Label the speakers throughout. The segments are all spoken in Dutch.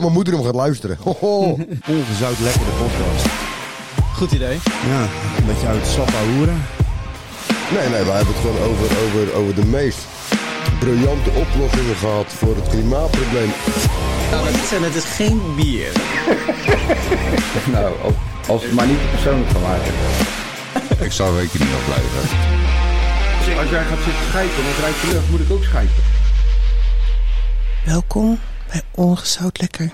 Speaker 1: mijn moeder hem gaat luisteren. Hoho. Ongezout lekkere podcast.
Speaker 2: Goed idee.
Speaker 3: Ja, een beetje uit het sap hoeren.
Speaker 1: Nee, nee, we hebben het gewoon over, over, over de meest briljante oplossingen gehad voor het klimaatprobleem.
Speaker 2: En het is geen bier.
Speaker 4: Nou, als, als het maar niet te persoonlijk van maken.
Speaker 5: Ik zou weken niet afblijven.
Speaker 4: Als jij gaat zitten schijpen, dan rijdt je lucht, moet ik ook schijpen.
Speaker 6: Welkom bij Ongezout Lekker.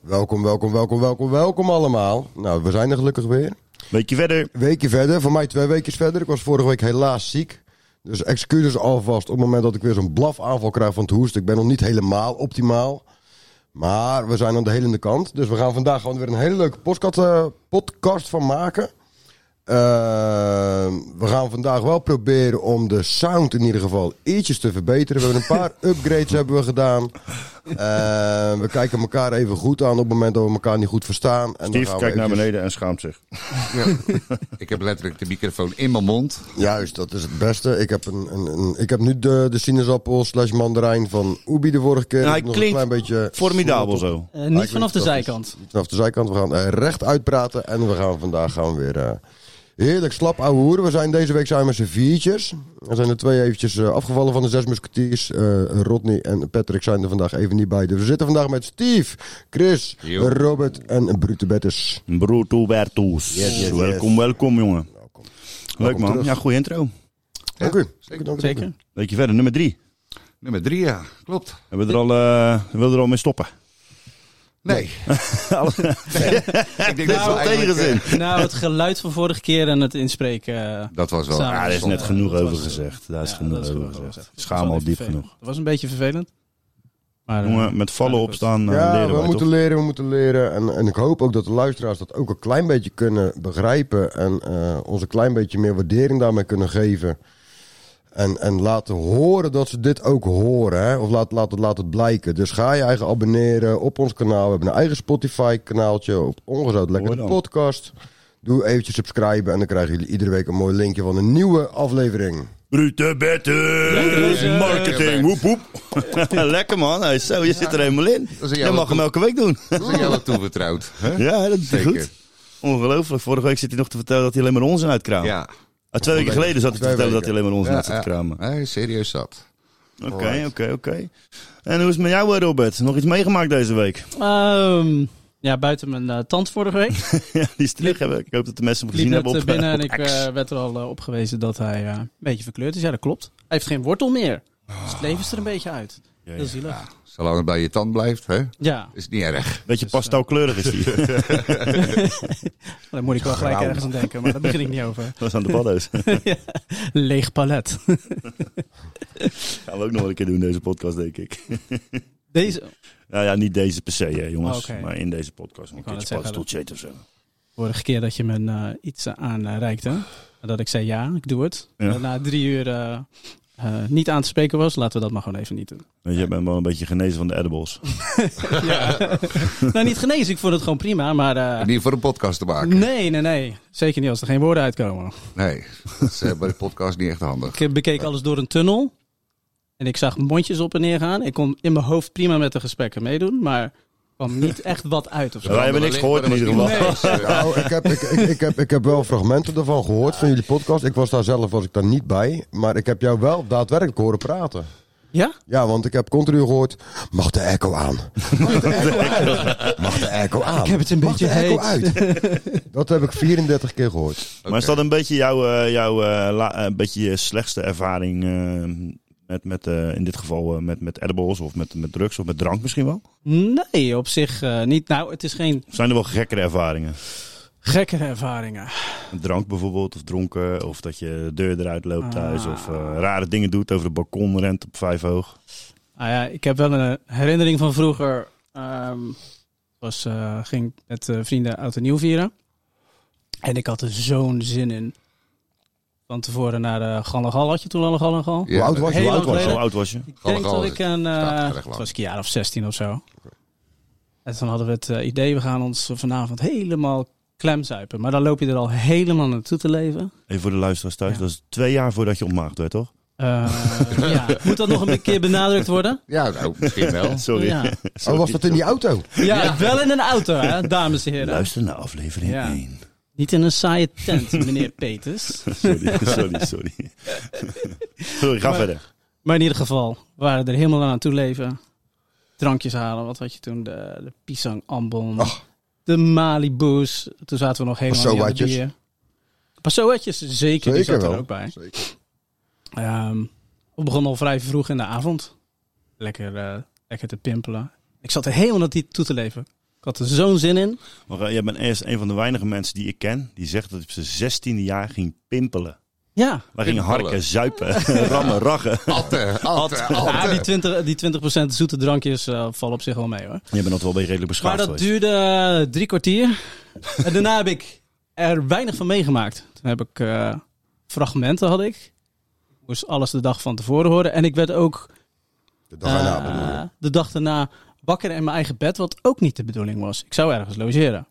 Speaker 1: Welkom, welkom, welkom, welkom, welkom allemaal. Nou, we zijn er gelukkig weer.
Speaker 3: Beetje verder.
Speaker 1: Weekje verder, voor mij twee weekjes verder. Ik was vorige week helaas ziek. Dus excuses alvast op het moment dat ik weer zo'n blafaanval krijg van het hoesten. Ik ben nog niet helemaal optimaal. Maar we zijn aan de helende kant. Dus we gaan vandaag gewoon weer een hele leuke podcast, eh, podcast van maken. Eh, we gaan vandaag wel proberen om de sound in ieder geval ietsjes te verbeteren. We hebben een paar upgrades hebben we gedaan. Eh, we kijken elkaar even goed aan op het moment dat we elkaar niet goed verstaan. En dan
Speaker 3: Steve
Speaker 1: gaan
Speaker 3: kijkt
Speaker 1: we
Speaker 3: naar
Speaker 1: eventjes-
Speaker 3: beneden en schaamt zich.
Speaker 5: Ik heb letterlijk de microfoon in mijn mond.
Speaker 1: Juist, dat is het beste. Ik heb, een, een, een- ik heb nu de, de sinaasappel slash mandarijn van Ubi de vorige keer.
Speaker 3: Nou,
Speaker 1: Ik
Speaker 3: hij
Speaker 1: heb nog
Speaker 3: klinkt
Speaker 1: een klein beetje
Speaker 3: Formidabel zo.
Speaker 2: Eh,
Speaker 1: Eigenlijk
Speaker 2: niet vanaf de
Speaker 1: dat is-
Speaker 2: zijkant.
Speaker 1: Niet vanaf de zijkant. We gaan eh, recht uitpraten en we gaan vandaag gaan we weer eh, heerlijk slap ouwe hoeren. We zijn deze week zijn we met z'n viertjes. Er zijn er twee eventjes eh, afgevallen van de zes musketiers. Eh, Rodney en Patrick zijn er vandaag even niet bij. Dus we zitten vandaag met Steve, Chris,
Speaker 5: Jo.
Speaker 1: Robert en Brute Bettis.
Speaker 3: Bruto Bertus.
Speaker 1: Yes, yes,
Speaker 3: Welkom, welkom jongen. Leuk
Speaker 1: Welkom
Speaker 3: man.
Speaker 1: terug.
Speaker 3: Ja, goede intro.
Speaker 1: Dank u.
Speaker 5: zeker.
Speaker 1: Dank u, dank u.
Speaker 2: Zeker.
Speaker 3: Beetje verder, nummer drie.
Speaker 5: Nummer drie, ja. Klopt.
Speaker 3: Hebben we er al, eh willen we er al mee stoppen?
Speaker 5: Nee. ik denk dat
Speaker 2: Nou,
Speaker 5: we eigenlijk, eh,
Speaker 2: Nou, het geluid van vorige keer en het inspreken. eh,
Speaker 5: Dat was wel
Speaker 2: Samen.
Speaker 3: Ja,
Speaker 5: aardig.
Speaker 3: daar is net
Speaker 2: Ja,
Speaker 3: genoeg
Speaker 2: dat
Speaker 3: over
Speaker 2: was-
Speaker 3: gezegd. Daar is
Speaker 2: ja,
Speaker 3: genoeg
Speaker 2: dat is
Speaker 3: over
Speaker 2: genoeg
Speaker 3: gezegd.
Speaker 2: gezegd.
Speaker 3: Schaam al
Speaker 2: Dat is
Speaker 3: diep
Speaker 2: wel even
Speaker 3: genoeg.
Speaker 2: Dat was een beetje vervelend. Maar, eh,
Speaker 3: Jongen, met vallen
Speaker 2: ja,
Speaker 3: opstaan eh,
Speaker 1: Ja,
Speaker 3: leren
Speaker 1: we
Speaker 3: wij
Speaker 1: moeten
Speaker 3: toch?
Speaker 1: leren, we moeten leren. En, en ik hoop ook dat de luisteraars dat ook een klein beetje kunnen begrijpen. En eh, ons een klein beetje meer waardering daarmee kunnen geven. En, en laten horen dat ze dit ook horen. Hè? Of laat, laat, het, laat het blijken. Dus ga je eigen abonneren op ons kanaal. We hebben een eigen Spotify kanaaltje op Ongezout Lekker
Speaker 3: Mooi
Speaker 1: de
Speaker 3: dan.
Speaker 1: podcast. Doe eventjes subscriben en dan krijgen jullie iedere week een mooi linkje van een nieuwe aflevering.
Speaker 3: Brute Bertus,
Speaker 2: Lekker,
Speaker 3: marketing,
Speaker 5: lekker.
Speaker 3: woep woep. Lekker man, Hey, zo, je zit er helemaal in.
Speaker 5: is
Speaker 3: Je
Speaker 5: een jouw
Speaker 3: mag hem
Speaker 5: toe-
Speaker 3: elke week doen.
Speaker 5: Dat is jou wel toevertrouwd. hè?
Speaker 3: Ja, dat is
Speaker 5: Zeker.
Speaker 3: goed. Ongelooflijk. Vorige week zit hij nog te vertellen dat hij alleen maar onzin uitkraamt.
Speaker 5: Ja.
Speaker 3: Ah, twee weken geleden zat hij te
Speaker 1: Twee
Speaker 3: vertellen dat
Speaker 1: weken.
Speaker 3: hij alleen maar onzin
Speaker 5: Ja,
Speaker 3: uit zat te
Speaker 5: ja.
Speaker 3: kramen.
Speaker 5: Hij is serieus zat.
Speaker 3: Oké, oké, oké. En hoe is het met jou, eh, Robert? Nog iets meegemaakt deze week?
Speaker 2: ehm, ja, buiten mijn eh, tand vorige week.
Speaker 3: ja, die is terug. hè? Ik hoop dat de mensen hem
Speaker 2: liep
Speaker 3: gezien hebben
Speaker 2: net eh,
Speaker 3: op
Speaker 2: binnen
Speaker 3: eh,
Speaker 2: en
Speaker 3: op
Speaker 2: ik
Speaker 3: X.
Speaker 2: eh, werd er al eh, op gewezen dat hij eh, een beetje verkleurd is. Ja, dat klopt. Hij heeft geen wortel meer. Dus het leven is er een beetje uit.
Speaker 3: Ja,
Speaker 2: Heel
Speaker 3: ja.
Speaker 2: zielig.
Speaker 5: Zolang het bij je tand blijft, hè?
Speaker 2: Ja,
Speaker 5: Is niet erg.
Speaker 3: eh, Beetje
Speaker 2: Dus, eh,
Speaker 3: pastelkleurig is die.
Speaker 2: daar moet ik wel gelijk ergens aan denken, maar daar begin ik niet over.
Speaker 3: Dat is aan de paddo's.
Speaker 2: Leeg palet.
Speaker 3: Gaan we ook nog wel een keer doen, deze podcast, denk ik.
Speaker 2: Deze,
Speaker 3: Nou ja, niet deze per se, hè, jongens.
Speaker 2: Oh, Oké.
Speaker 3: Maar in deze podcast. Nog
Speaker 2: wou
Speaker 3: een
Speaker 2: net
Speaker 3: keertje
Speaker 2: zeggen,
Speaker 3: paddenstoeltje eten of zo.
Speaker 2: Vorige keer dat je me eh, iets eh, aanreikte. Dat ik zei ja, ik doe het.
Speaker 3: Ja.
Speaker 2: En Na drie uur eh, eh, niet aan te spreken was, laten we dat maar gewoon even niet doen.
Speaker 3: Weet je, ik ben wel een beetje genezen van de edibles.
Speaker 2: nou, niet genezen, ik vond het gewoon prima, maar... eh,
Speaker 5: Niet voor een podcast te maken.
Speaker 2: nee, nee, nee. Zeker niet als er geen woorden uitkomen.
Speaker 5: Nee. Dat is eh, bij de podcast niet echt handig.
Speaker 2: Ik eh, bekeek alles door een tunnel. En ik zag mondjes op en neer gaan. Ik kon in mijn hoofd prima met de gesprekken meedoen, maar er kwam niet echt wat uit of zo.
Speaker 3: Wij hebben niks gehoord in ieder geval.
Speaker 5: Nee.
Speaker 1: Nou, ik heb, ik, ik, ik, heb, ik heb wel fragmenten daarvan gehoord van jullie podcast. Ik was daar zelf was ik daar niet bij. Maar ik heb jou wel daadwerkelijk horen praten.
Speaker 2: Ja?
Speaker 1: Ja, want ik heb continu gehoord. Mag de echo aan? Mag de echo uit? Mag de echo aan?
Speaker 2: Ik heb het een
Speaker 1: Mag de
Speaker 2: beetje
Speaker 1: echo uit? Dat heb ik 34 keer gehoord.
Speaker 3: Maar is dat een beetje jouw, eh, jouw eh, la- eh, een beetje je slechtste ervaring eh, met, met eh, in dit geval eh, met, met edibles of met, met drugs of met drank misschien wel?
Speaker 2: Nee, op zich eh, niet. Nou, het is geen
Speaker 3: Of zijn er wel gekkere ervaringen?
Speaker 2: gekkere ervaringen.
Speaker 3: Met Drank bijvoorbeeld of dronken of dat je de deur eruit loopt thuis
Speaker 2: Ah.
Speaker 3: of eh, rare dingen doet over de balkon rent op vijf hoog.
Speaker 2: Ah ja, ik heb wel een herinnering van vroeger. Ehm, was, eh, ging met eh, vrienden oud en nieuw vieren. En ik had er zo'n zin in. Van tevoren naar de Gallegal had je toen al een Gallegal.
Speaker 1: Hoe oud was je? Hoe
Speaker 2: Heel
Speaker 1: oud was
Speaker 2: lang
Speaker 1: je?
Speaker 3: Hoe oud was je?
Speaker 2: Ik denk
Speaker 5: Gallegal
Speaker 2: dat
Speaker 5: is-
Speaker 2: ik een...
Speaker 5: staat
Speaker 2: eh
Speaker 5: erg lang.
Speaker 2: het was ik een jaar of 16 of zo. En toen hadden we het eh, idee, we gaan ons vanavond helemaal klemzuipen. Maar dan loop je er al helemaal naartoe te leven.
Speaker 3: Even voor de luisteraars thuis,
Speaker 2: Ja.
Speaker 3: dat is twee jaar voordat je ontmaagd werd, toch?
Speaker 2: Eh, ja. Moet dat nog een keer benadrukt worden?
Speaker 5: Ja, nou, misschien wel.
Speaker 3: Sorry.
Speaker 2: Ja.
Speaker 1: Oh, was dat in die auto?
Speaker 2: Ja, wel in een auto, hè, dames en heren.
Speaker 3: Luister naar aflevering
Speaker 2: Ja.
Speaker 3: 1.
Speaker 2: Niet in een saaie tent, meneer Peters.
Speaker 3: Sorry, sorry, sorry. sorry, ga
Speaker 2: Maar-
Speaker 3: verder.
Speaker 2: Maar in ieder geval, we waren er helemaal aan toe leven. Drankjes halen, wat had je toen? De, de Pisang Ambon,
Speaker 1: Ach.
Speaker 2: de Malibu's. Toen zaten we nog helemaal niet aan de
Speaker 1: Passoatjes.
Speaker 2: bier. Passoatjes, zeker, die
Speaker 1: Zeker
Speaker 2: zat er
Speaker 1: wel.
Speaker 2: ook bij.
Speaker 1: Zeker.
Speaker 2: Ehm, we begonnen al vrij vroeg in de avond. Lekker, eh, lekker te pimpelen. Ik zat er helemaal naar die toe te leven. Ik had er zo'n zin in.
Speaker 3: Maar, eh, jij bent eerst een van de weinige mensen die ik ken die zegt dat hij op zijn 16e jaar ging pimpelen.
Speaker 2: Ja.
Speaker 3: Wij gingen
Speaker 5: Pimpelen.
Speaker 3: harken, zuipen, rammen, raggen.
Speaker 5: Atten, atten,
Speaker 2: Ja, Ah, die,
Speaker 5: atten.
Speaker 2: 20, die 20% zoete drankjes eh, vallen op zich wel mee hoor.
Speaker 3: Je bent dat wel bij redelijk
Speaker 2: Maar
Speaker 3: beschaafd
Speaker 2: dat
Speaker 3: geweest.
Speaker 2: duurde eh, drie kwartier. en daarna heb ik er weinig van meegemaakt. Toen heb ik eh, fragmenten had ik. Ik moest alles de dag van tevoren horen. En ik werd ook
Speaker 1: De dag erna
Speaker 2: eh,
Speaker 1: bedoel je.
Speaker 2: de dag daarna wakker in mijn eigen bed. Wat ook niet de bedoeling was. Ik zou ergens logeren.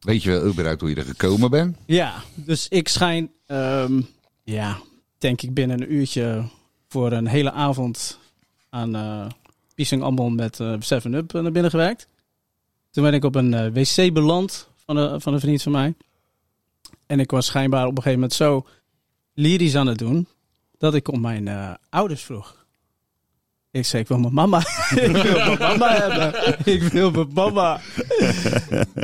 Speaker 5: Weet je wel überhaupt hoe je er gekomen bent?
Speaker 2: Ja, dus ik schijn, ehm, ja, denk ik binnen een uurtje voor een hele avond aan eh Pisang Ambon met eh, 7-Up naar binnen gewerkt. Toen ben ik op een eh, wc beland van, een- van een vriend van mij. En ik was schijnbaar op een gegeven moment zo lyrisch aan het doen, dat ik om mijn eh, ouders vroeg. Ik zei, ik wil mijn mama. ik wil mijn mama hebben. Ik wil mijn mama.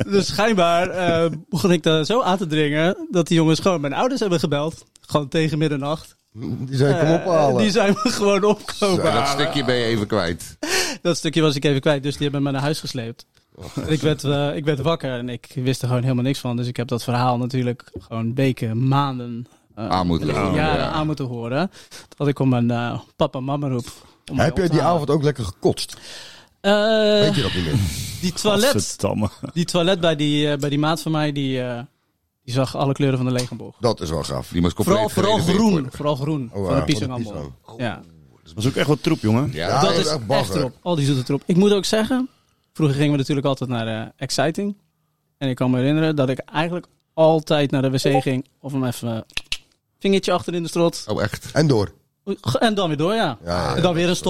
Speaker 2: Dus schijnbaar eh, begon ik daar zo aan te dringen dat die jongens gewoon mijn ouders hebben gebeld. Gewoon tegen middernacht.
Speaker 1: Die zijn kom
Speaker 2: Eh,
Speaker 1: ophalen.
Speaker 2: die zijn me gewoon
Speaker 5: Zo,
Speaker 2: opkomen.
Speaker 5: dat stukje ben je even kwijt.
Speaker 2: Dat stukje was ik even kwijt, dus die hebben me naar huis gesleept. En ik, werd, eh, ik werd wakker en ik wist er gewoon helemaal niks van. Dus ik heb dat verhaal natuurlijk gewoon weken, maanden, eh,
Speaker 5: Aan moeten horen,
Speaker 2: jaren
Speaker 5: ja.
Speaker 2: aan moeten horen. Dat ik om mijn eh, papa en mama roep. om mij
Speaker 1: Heb
Speaker 2: op te
Speaker 1: je die
Speaker 2: halen.
Speaker 1: avond ook lekker gekotst?
Speaker 2: Eh,
Speaker 1: Weet je dat niet meer?
Speaker 2: die toilet,
Speaker 3: Gadverdamme.
Speaker 2: die toilet bij, die, eh, bij die maat van mij, die, eh, die zag alle kleuren van de regenboog.
Speaker 1: Dat is wel gaaf.
Speaker 5: Die moest compleet
Speaker 2: Vooral, vooral
Speaker 5: gerenoveerd
Speaker 2: groen.
Speaker 5: worden. ah,
Speaker 2: Vooral groen.
Speaker 1: Oh,
Speaker 2: van de
Speaker 1: ja,
Speaker 2: pisangambel.
Speaker 1: pisang.
Speaker 2: Ja.
Speaker 3: Dat was ook echt wat troep, jongen.
Speaker 5: Ja,
Speaker 1: Ja,
Speaker 2: Dat
Speaker 1: dat
Speaker 2: is
Speaker 1: is
Speaker 2: echt,
Speaker 1: echt bagger.
Speaker 2: erop. Al die zoete erop. Ik moet ook zeggen, vroeger gingen we natuurlijk altijd naar eh, Exciting. En ik kan me herinneren dat ik eigenlijk altijd naar de wc ging. Of hem even eh, vingertje achter in de strot.
Speaker 5: Oh, echt.
Speaker 1: En door.
Speaker 2: En dan weer door, Oh. ja.
Speaker 1: Ja, ja,
Speaker 2: en dan weer een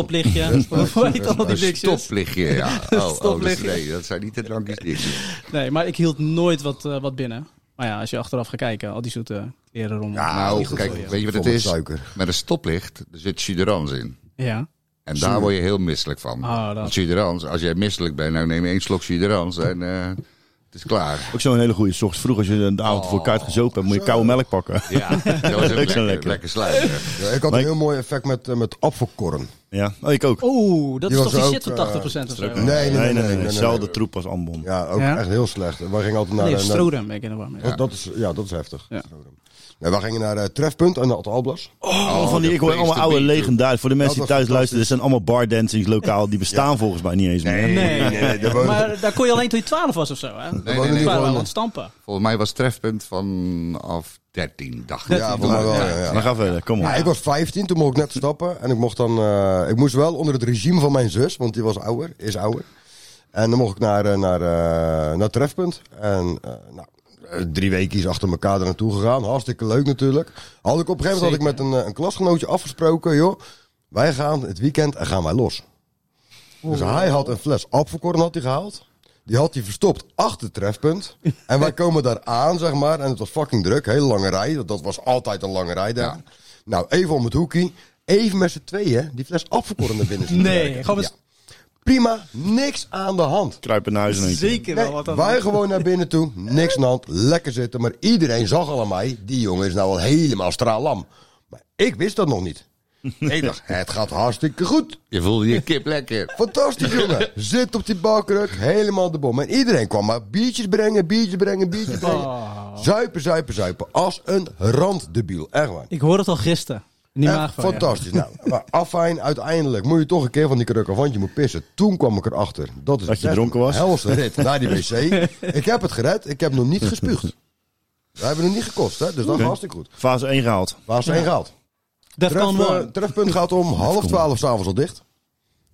Speaker 2: stoplichtje. Hoe heet al
Speaker 5: Een
Speaker 2: die dingetjes?
Speaker 5: stoplichtje, ja. Oh, oh dus
Speaker 2: Stoplichtje.
Speaker 5: nee, dat zijn niet de drankjes die ik doe.
Speaker 2: Nee, maar ik hield nooit wat, eh, wat binnen. Maar ja, als je achteraf gaat kijken, al die zoete kleren rond.
Speaker 5: Nou, kijk,
Speaker 2: voor je.
Speaker 5: weet je wat het
Speaker 1: Vol met
Speaker 5: is?
Speaker 1: suiker.
Speaker 5: Met een stoplicht er zit suderans in.
Speaker 2: Ja.
Speaker 5: En daar word je heel misselijk van.
Speaker 2: Ah, dat-
Speaker 5: Want suderans, als jij misselijk bent, nou neem je één slok suderans en eh, het is klaar.
Speaker 3: Ook zo'n hele goede zocht. Vroeg als je de avond voor kuit gezopen hebt, moet je koude melk pakken.
Speaker 5: Ja, dat was ook lekker,
Speaker 3: lekker.
Speaker 5: lekker. lekker sluiten.
Speaker 1: Ja, ik had
Speaker 3: Maar
Speaker 1: een
Speaker 3: ik-
Speaker 1: heel mooi effect met, eh, met appelkorn.
Speaker 3: Ja, oh, ik ook.
Speaker 2: Oeh, dat
Speaker 1: Die
Speaker 2: is
Speaker 1: was
Speaker 2: toch die
Speaker 1: ook,
Speaker 2: shit van
Speaker 1: eh,
Speaker 2: 80% of zo?
Speaker 1: Nee, nee, nee. nee, nee, nee,
Speaker 3: Hetzelfde
Speaker 1: nee.
Speaker 3: troep als Ambon.
Speaker 1: Ja, ook
Speaker 2: Ja?
Speaker 1: echt heel slecht. Wij gingen altijd naar...
Speaker 2: Nee,
Speaker 1: eh, naar-
Speaker 2: Strodem ben ik in de war mee.
Speaker 1: dat, dat is, ja, dat is heftig.
Speaker 2: Ja.
Speaker 1: Nee, wij gingen naar eh, Trefpunt en de Alte Alblas.
Speaker 3: Oh, van die,
Speaker 5: de
Speaker 3: ik hoor
Speaker 5: place
Speaker 3: allemaal
Speaker 5: to
Speaker 3: oude
Speaker 5: be,
Speaker 3: legendaren. Voor de mensen die
Speaker 1: Dat
Speaker 3: thuis
Speaker 1: was
Speaker 3: luisteren, dit zijn allemaal bardancings lokaal. Die bestaan volgens mij niet eens meer.
Speaker 5: Nee,
Speaker 2: Nee,
Speaker 1: daar wonen-
Speaker 2: maar daar kon je alleen toen je 12 was of zo, hè?
Speaker 5: nee,
Speaker 2: Nee,
Speaker 1: wonen
Speaker 5: nee.
Speaker 1: nu
Speaker 2: waren we aan
Speaker 1: gewoon...
Speaker 2: het stampen.
Speaker 5: Volgens mij was het trefpunt vanaf 13, dacht ik.
Speaker 1: Ja, volgens mij wel, ja, ja.
Speaker 3: Maar ga verder, kom op.
Speaker 1: Ja, ik was 15, toen mocht ik net stappen. En ik mocht dan. eh, ik moest wel onder het regime van mijn zus, want die was ouder, is ouder. En dan mocht ik naar, eh, naar, eh, naar Trefpunt. En eh, nou, eh, drie weken is achter elkaar er naartoe gegaan. Hartstikke leuk natuurlijk. Had ik op een gegeven moment had ik met een, eh, een klasgenootje afgesproken, joh. Wij gaan het weekend en gaan wij los. Dus hij had een fles appelkorn had hij gehaald. Die had hij verstopt achter trefpunt. En wij komen daar aan, zeg maar. En het was fucking druk. Hele lange rij. Dat- Dat was altijd een lange rij daar.
Speaker 5: Ja.
Speaker 1: Nou, even om het hoekje. Even met z'n tweeën die fles appelkorn naar binnen zien
Speaker 2: Nee,
Speaker 1: werken.
Speaker 2: gewoon met-
Speaker 1: Prima. Niks aan de hand.
Speaker 3: Kruipen naar huis in één keer.
Speaker 2: Zeker
Speaker 1: Nee,
Speaker 2: wel wat
Speaker 1: wij gewoon naar binnen toe, niks aan de hand, lekker zitten. Maar iedereen zag al aan mij, die jongen is nou al helemaal straalam. Maar ik wist dat nog niet. Ik dacht, het gaat hartstikke goed.
Speaker 5: Je voelde je kip lekker.
Speaker 1: Fantastisch, jongen. Zit op die balkruk, helemaal de bom. En iedereen kwam maar biertjes brengen, biertjes brengen, biertjes
Speaker 2: Oh.
Speaker 1: brengen. Zuipen, zuipen, zuipen. Als een randdebiel. Echt waar.
Speaker 2: Ik hoor het al gisteren. In die
Speaker 1: Echt
Speaker 2: maag van je.
Speaker 1: fantastisch. Nou, maar afijn, uiteindelijk moet je toch een keer van die kruk af, want je moet pissen. Toen kwam ik erachter. Dat, is
Speaker 3: Dat je
Speaker 1: echt
Speaker 3: dronken was?
Speaker 1: een helse rit naar die wc. ik heb het gered, ik heb nog niet gespuugd. We hebben nog niet gekost, hè? dus dat was hartstikke goed.
Speaker 3: Fase 1 gehaald.
Speaker 1: Waar ze heen gehaald?
Speaker 2: Defcon
Speaker 1: Tref- eh,
Speaker 2: one.
Speaker 1: trefpunt gaat om half twaalf s'avonds al dicht.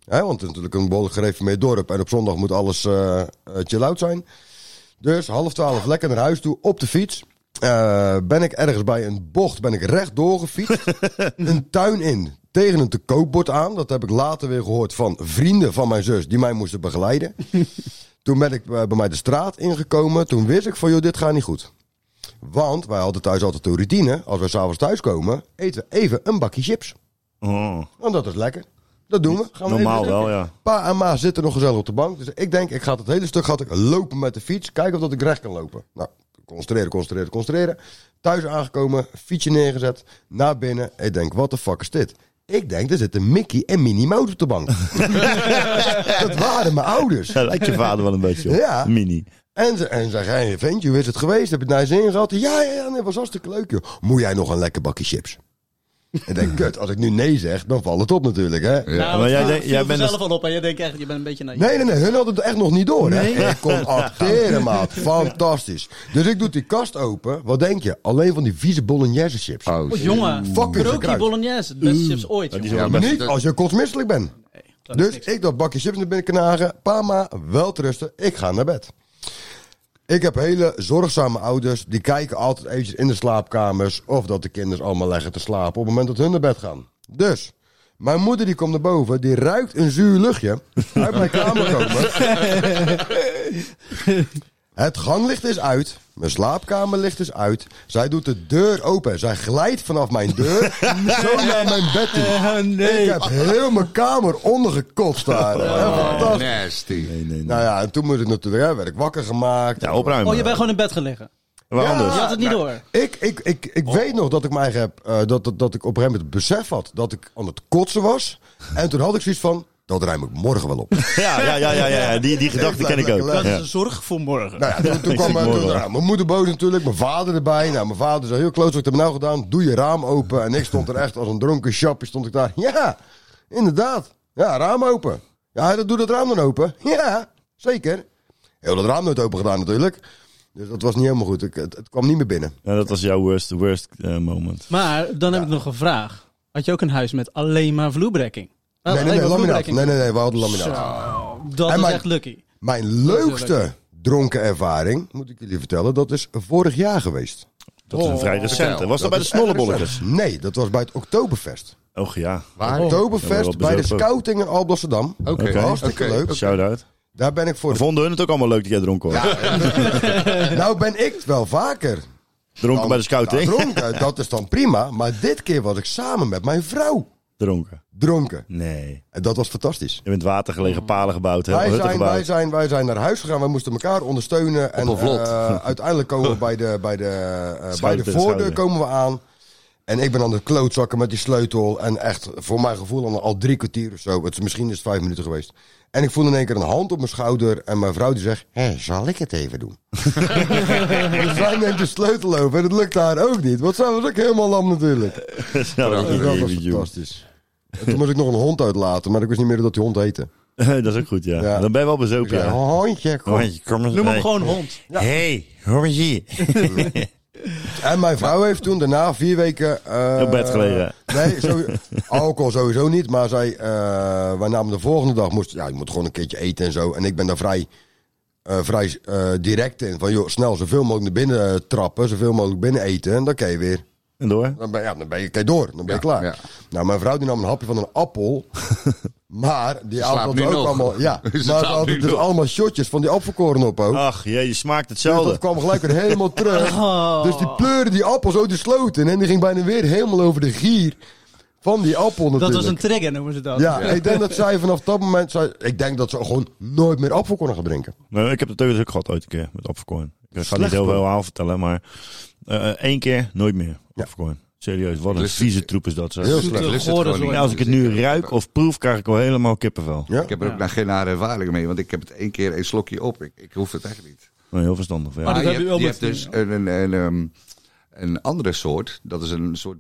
Speaker 1: Hè, want het is natuurlijk een behoorlijk gereformeerd dorp. En op zondag moet alles eh eh, chill-out zijn. Dus half twaalf lekker naar huis toe, op de fiets. Eh, ben ik ergens bij een bocht, ben ik rechtdoor gefietst, een tuin in, tegen een tekoopbord aan. Dat heb ik later weer gehoord van vrienden van mijn zus, die mij moesten begeleiden. Toen ben ik eh, bij mij de straat ingekomen. Toen wist ik van, joh, dit gaat niet goed. Want wij hadden thuis altijd de routine, als we s'avonds thuis komen, eten we even een bakje chips.
Speaker 3: Oh,
Speaker 1: Want dat is lekker. Dat doen we. Gaan we
Speaker 3: normaal
Speaker 1: even
Speaker 3: wel, ja.
Speaker 1: Pa en ma zitten nog gezellig op de bank. Dus ik denk, ik ga dat hele stuk gaat ik lopen met de fiets. Kijken of dat ik recht kan lopen. Nou, concentreren, concentreren, concentreren. Thuis aangekomen, fietsje neergezet. Naar binnen. Ik denk, wat de fuck is dit? Ik denk, er zitten Mickey en Minnie Mouse op de bank. dat waren mijn ouders.
Speaker 3: Ja, lijkt je vader wel een beetje op.
Speaker 1: Ja.
Speaker 3: Mini.
Speaker 1: En ze en zeg, hey, ventje, hoe is het geweest? Heb je het naar je zin gehad? Ja, ja, ja, nee, was hartstikke leuk, joh. Moet jij nog een lekker bakje chips? ik denk, kut, als ik nu nee zeg, dan valt het op natuurlijk, hè?
Speaker 3: maar jij denkt- jij bent
Speaker 2: zelf al op en jij denkt echt, je bent een beetje naïef.
Speaker 1: Nee, nee, nee. Hun hadden het echt nog niet door. Hè? Ik kon acteren, maat. Fantastisch. Dus ik doe die kast open. Wat denk je? Alleen van die vieze bolognese chips.
Speaker 5: Oh,
Speaker 2: Oh, jongen,
Speaker 1: Fucking
Speaker 2: Kroki
Speaker 1: gekruid.
Speaker 2: Bolognese, de beste chips ooit.
Speaker 3: Ja, die
Speaker 2: jongen.
Speaker 3: zijn wel
Speaker 5: maar-
Speaker 3: best...
Speaker 1: Niet als je kotsmisselijk bent.
Speaker 2: Dat is
Speaker 1: Dus
Speaker 2: niks.
Speaker 1: ik dat bakje chips naar binnen knagen. Pama, wel rusten. Ik ga naar bed. Ik heb hele zorgzame ouders. Die kijken altijd eventjes in de slaapkamers. Of dat de kinderen allemaal leggen te slapen. Op het moment dat hun naar bed gaan. Dus. Mijn moeder die komt naar boven, die ruikt een zuur luchtje uit mijn kamer komen. Het ganglicht is uit. Mijn slaapkamerlicht is uit. Zij doet de deur open. Zij glijdt vanaf mijn deur zo naar mijn bed toe. Ik heb heel mijn kamer ondergekotst daar. Fantastisch.
Speaker 5: Nasty.
Speaker 3: Nee, nee, nee.
Speaker 1: Nou ja, en toen moest ik natuurlijk, hè, werd ik wakker gemaakt.
Speaker 3: Ja, nou. opruimen.
Speaker 2: Oh, je bent gewoon in bed gelegen.
Speaker 3: Waar
Speaker 1: Ja.
Speaker 3: anders?
Speaker 2: Je had het niet
Speaker 1: nou,
Speaker 2: door.
Speaker 1: Ik, ik, ik, ik weet nog dat ik mij heb, eh, dat, dat, dat ik op een gegeven moment besef had dat ik aan het kotsen was. En toen had ik zoiets van, dat ruim ik morgen wel op.
Speaker 3: Ja, ja, ja, ja, ja, ja. Die, die gedachte ken ik ook.
Speaker 1: Dat is
Speaker 3: Ja.
Speaker 2: zorg voor morgen.
Speaker 1: Nou ja, toen, toen kwam
Speaker 3: Ik zie
Speaker 1: mijn,
Speaker 3: het
Speaker 1: toen,
Speaker 3: mooi wel.
Speaker 1: nou, mijn moeder boos natuurlijk, mijn vader erbij. Nou, mijn vader zei, heel kloot, wat heb je nou gedaan? Doe je raam open. En ik stond er echt als een dronken chapje, stond ik daar. Ja, inderdaad. Ja, raam open. Ja, dat doe dat raam dan open. Ja, zeker. Heel dat raam nooit open gedaan natuurlijk. Dus dat was niet helemaal goed. Ik, het, het kwam niet meer binnen.
Speaker 3: Ja, dat was jouw worst, worst eh, moment.
Speaker 2: Maar dan heb ik nog een vraag. Had je ook een huis met alleen maar vloerbrekking?
Speaker 1: Nee, nee, nee,
Speaker 2: Alleen maar
Speaker 1: laminaat.
Speaker 2: vloerbrekking.
Speaker 1: Nee, nee, nou. nee, we hadden laminaat.
Speaker 2: Zo, dat
Speaker 1: En
Speaker 2: is
Speaker 1: mijn-
Speaker 2: echt lucky.
Speaker 1: Mijn leukste dronken ervaring, moet ik jullie vertellen, dat is vorig jaar geweest.
Speaker 3: Dat is een
Speaker 2: Oh.
Speaker 3: vrij recente. Was dat, bij de
Speaker 1: is erg
Speaker 3: snollebolletjes?
Speaker 1: recent. Nee, dat was bij het Oktoberfest.
Speaker 3: Och ja.
Speaker 5: Waar?
Speaker 2: Oh,
Speaker 3: Ja, Oh, wel
Speaker 1: Oktoberfest bij de
Speaker 3: bezopen.
Speaker 1: scouting in Alblasserdam.
Speaker 5: Oké.
Speaker 3: Oké.
Speaker 1: Hartstikke
Speaker 5: Oké.
Speaker 1: leuk.
Speaker 3: Shout-out.
Speaker 1: Daar ben ik voor. de-
Speaker 3: Vonden hun het ook allemaal leuk dat jij dronken was?
Speaker 1: Nou ben ik wel vaker
Speaker 3: Dronken
Speaker 1: dan-
Speaker 3: bij de scouting?
Speaker 1: dan dronken. Dat is dan prima. Maar dit keer was ik samen met mijn vrouw
Speaker 3: dronken.
Speaker 1: dronken.
Speaker 3: Nee.
Speaker 1: En dat was fantastisch.
Speaker 3: Je bent water gelegen, palen gebouwd, heel
Speaker 1: Wij
Speaker 3: hutten
Speaker 1: zijn, wij,
Speaker 3: gebouwd.
Speaker 1: zijn, wij zijn naar huis gegaan. Wij moesten elkaar ondersteunen. En
Speaker 5: een vlot.
Speaker 1: eh, uiteindelijk komen we bij de, bij de, eh, bij
Speaker 3: Schouder
Speaker 1: de
Speaker 3: tegen
Speaker 1: voordeur
Speaker 3: schouder.
Speaker 1: komen we aan. En ik ben aan de klootzakken met die sleutel. En echt, voor mijn gevoel, al- al drie kwartier of zo. Het, misschien is het vijf minuten geweest. En ik voel in één keer een hand op mijn schouder. En mijn vrouw die zegt, hé, zal ik het even doen? dus wij neemt de sleutel over. En het lukt haar ook niet. Want zij was ook helemaal lam natuurlijk.
Speaker 3: Ja, dat
Speaker 1: En
Speaker 3: is
Speaker 1: dat was
Speaker 3: een baby, joh.
Speaker 1: fantastisch. En toen moest ik nog een hond uitlaten. Maar ik wist niet meer hoe dat die hond heette.
Speaker 3: Dat is ook goed, ja.
Speaker 1: Ja.
Speaker 3: Dan ben je wel
Speaker 1: Ik
Speaker 3: bezopen,
Speaker 1: zei,
Speaker 3: ja.
Speaker 1: hondje, kom.
Speaker 3: Hondje, kom eens
Speaker 2: Noem
Speaker 3: mee.
Speaker 2: hem gewoon hond.
Speaker 3: Hey, hoor eens hier.
Speaker 1: En mijn vrouw heeft toen daarna vier weken... eh,
Speaker 3: Op bed gelegen.
Speaker 1: Nee, sowieso- alcohol sowieso niet. Maar zij, eh, wij namen de volgende dag... Moest, ja, je moet gewoon een keertje eten en zo. En ik ben daar vrij, eh, vrij eh, direct in. Van joh, snel zoveel mogelijk naar binnen eh, trappen. Zoveel mogelijk binnen eten. En dan kan je weer...
Speaker 3: En door?
Speaker 1: Dan ben, ja, dan ben je, kan je door. Dan ben je
Speaker 5: Ja,
Speaker 1: klaar.
Speaker 5: ja.
Speaker 1: Nou, mijn vrouw die nam een hapje van een appel. maar die
Speaker 5: slaapt
Speaker 1: had
Speaker 5: nu
Speaker 1: ook
Speaker 5: nog.
Speaker 1: allemaal... Ja,
Speaker 5: Ze
Speaker 1: maar ze
Speaker 5: slaapt
Speaker 1: had
Speaker 5: nu
Speaker 1: dus
Speaker 5: nog.
Speaker 1: allemaal shotjes van die appelkoren op ook.
Speaker 3: Ach, jee, je smaakt
Speaker 1: Dus dat
Speaker 3: hetzelfde.
Speaker 1: kwam gelijk weer helemaal terug. Dus die pleurde die appel zo de sloot in. En die ging bijna weer helemaal over de gier van die appel natuurlijk.
Speaker 2: Dat was een trigger, noemen ze dat.
Speaker 1: Ja, ik denk dat zij vanaf dat moment... Zij, ik denk dat ze gewoon nooit meer appel konden gaan drinken.
Speaker 3: Nou, ik heb het ook gehad ooit een keer met Opvercoin. Ik ga niet
Speaker 1: Slecht,
Speaker 3: heel
Speaker 1: hoor.
Speaker 3: veel verhaal vertellen, maar eh, eh, één keer, nooit meer.
Speaker 1: Ja.
Speaker 3: Opvercoin. Serieus, wat een
Speaker 5: Lust-
Speaker 3: vieze troep is dat. zeg.
Speaker 1: Heel
Speaker 5: Ik
Speaker 1: slecht.
Speaker 5: lust het
Speaker 2: Gore
Speaker 5: gewoon
Speaker 2: zorg.
Speaker 5: niet.
Speaker 3: Ja, als ik het nu ruik of proef, krijg ik wel helemaal kippenvel.
Speaker 1: Ja?
Speaker 5: Ik heb er ook nog geen nare ervaring mee, want ik heb het één keer één slokje op. Ik, ik hoef het echt niet.
Speaker 3: Nou, heel verstandig. Ja.
Speaker 2: Maar Ah, dat
Speaker 5: je
Speaker 2: heb je
Speaker 5: hebt,
Speaker 2: wel
Speaker 5: je
Speaker 2: met
Speaker 5: hebt dus een, een, een, ehm, een andere soort. Dat is een soort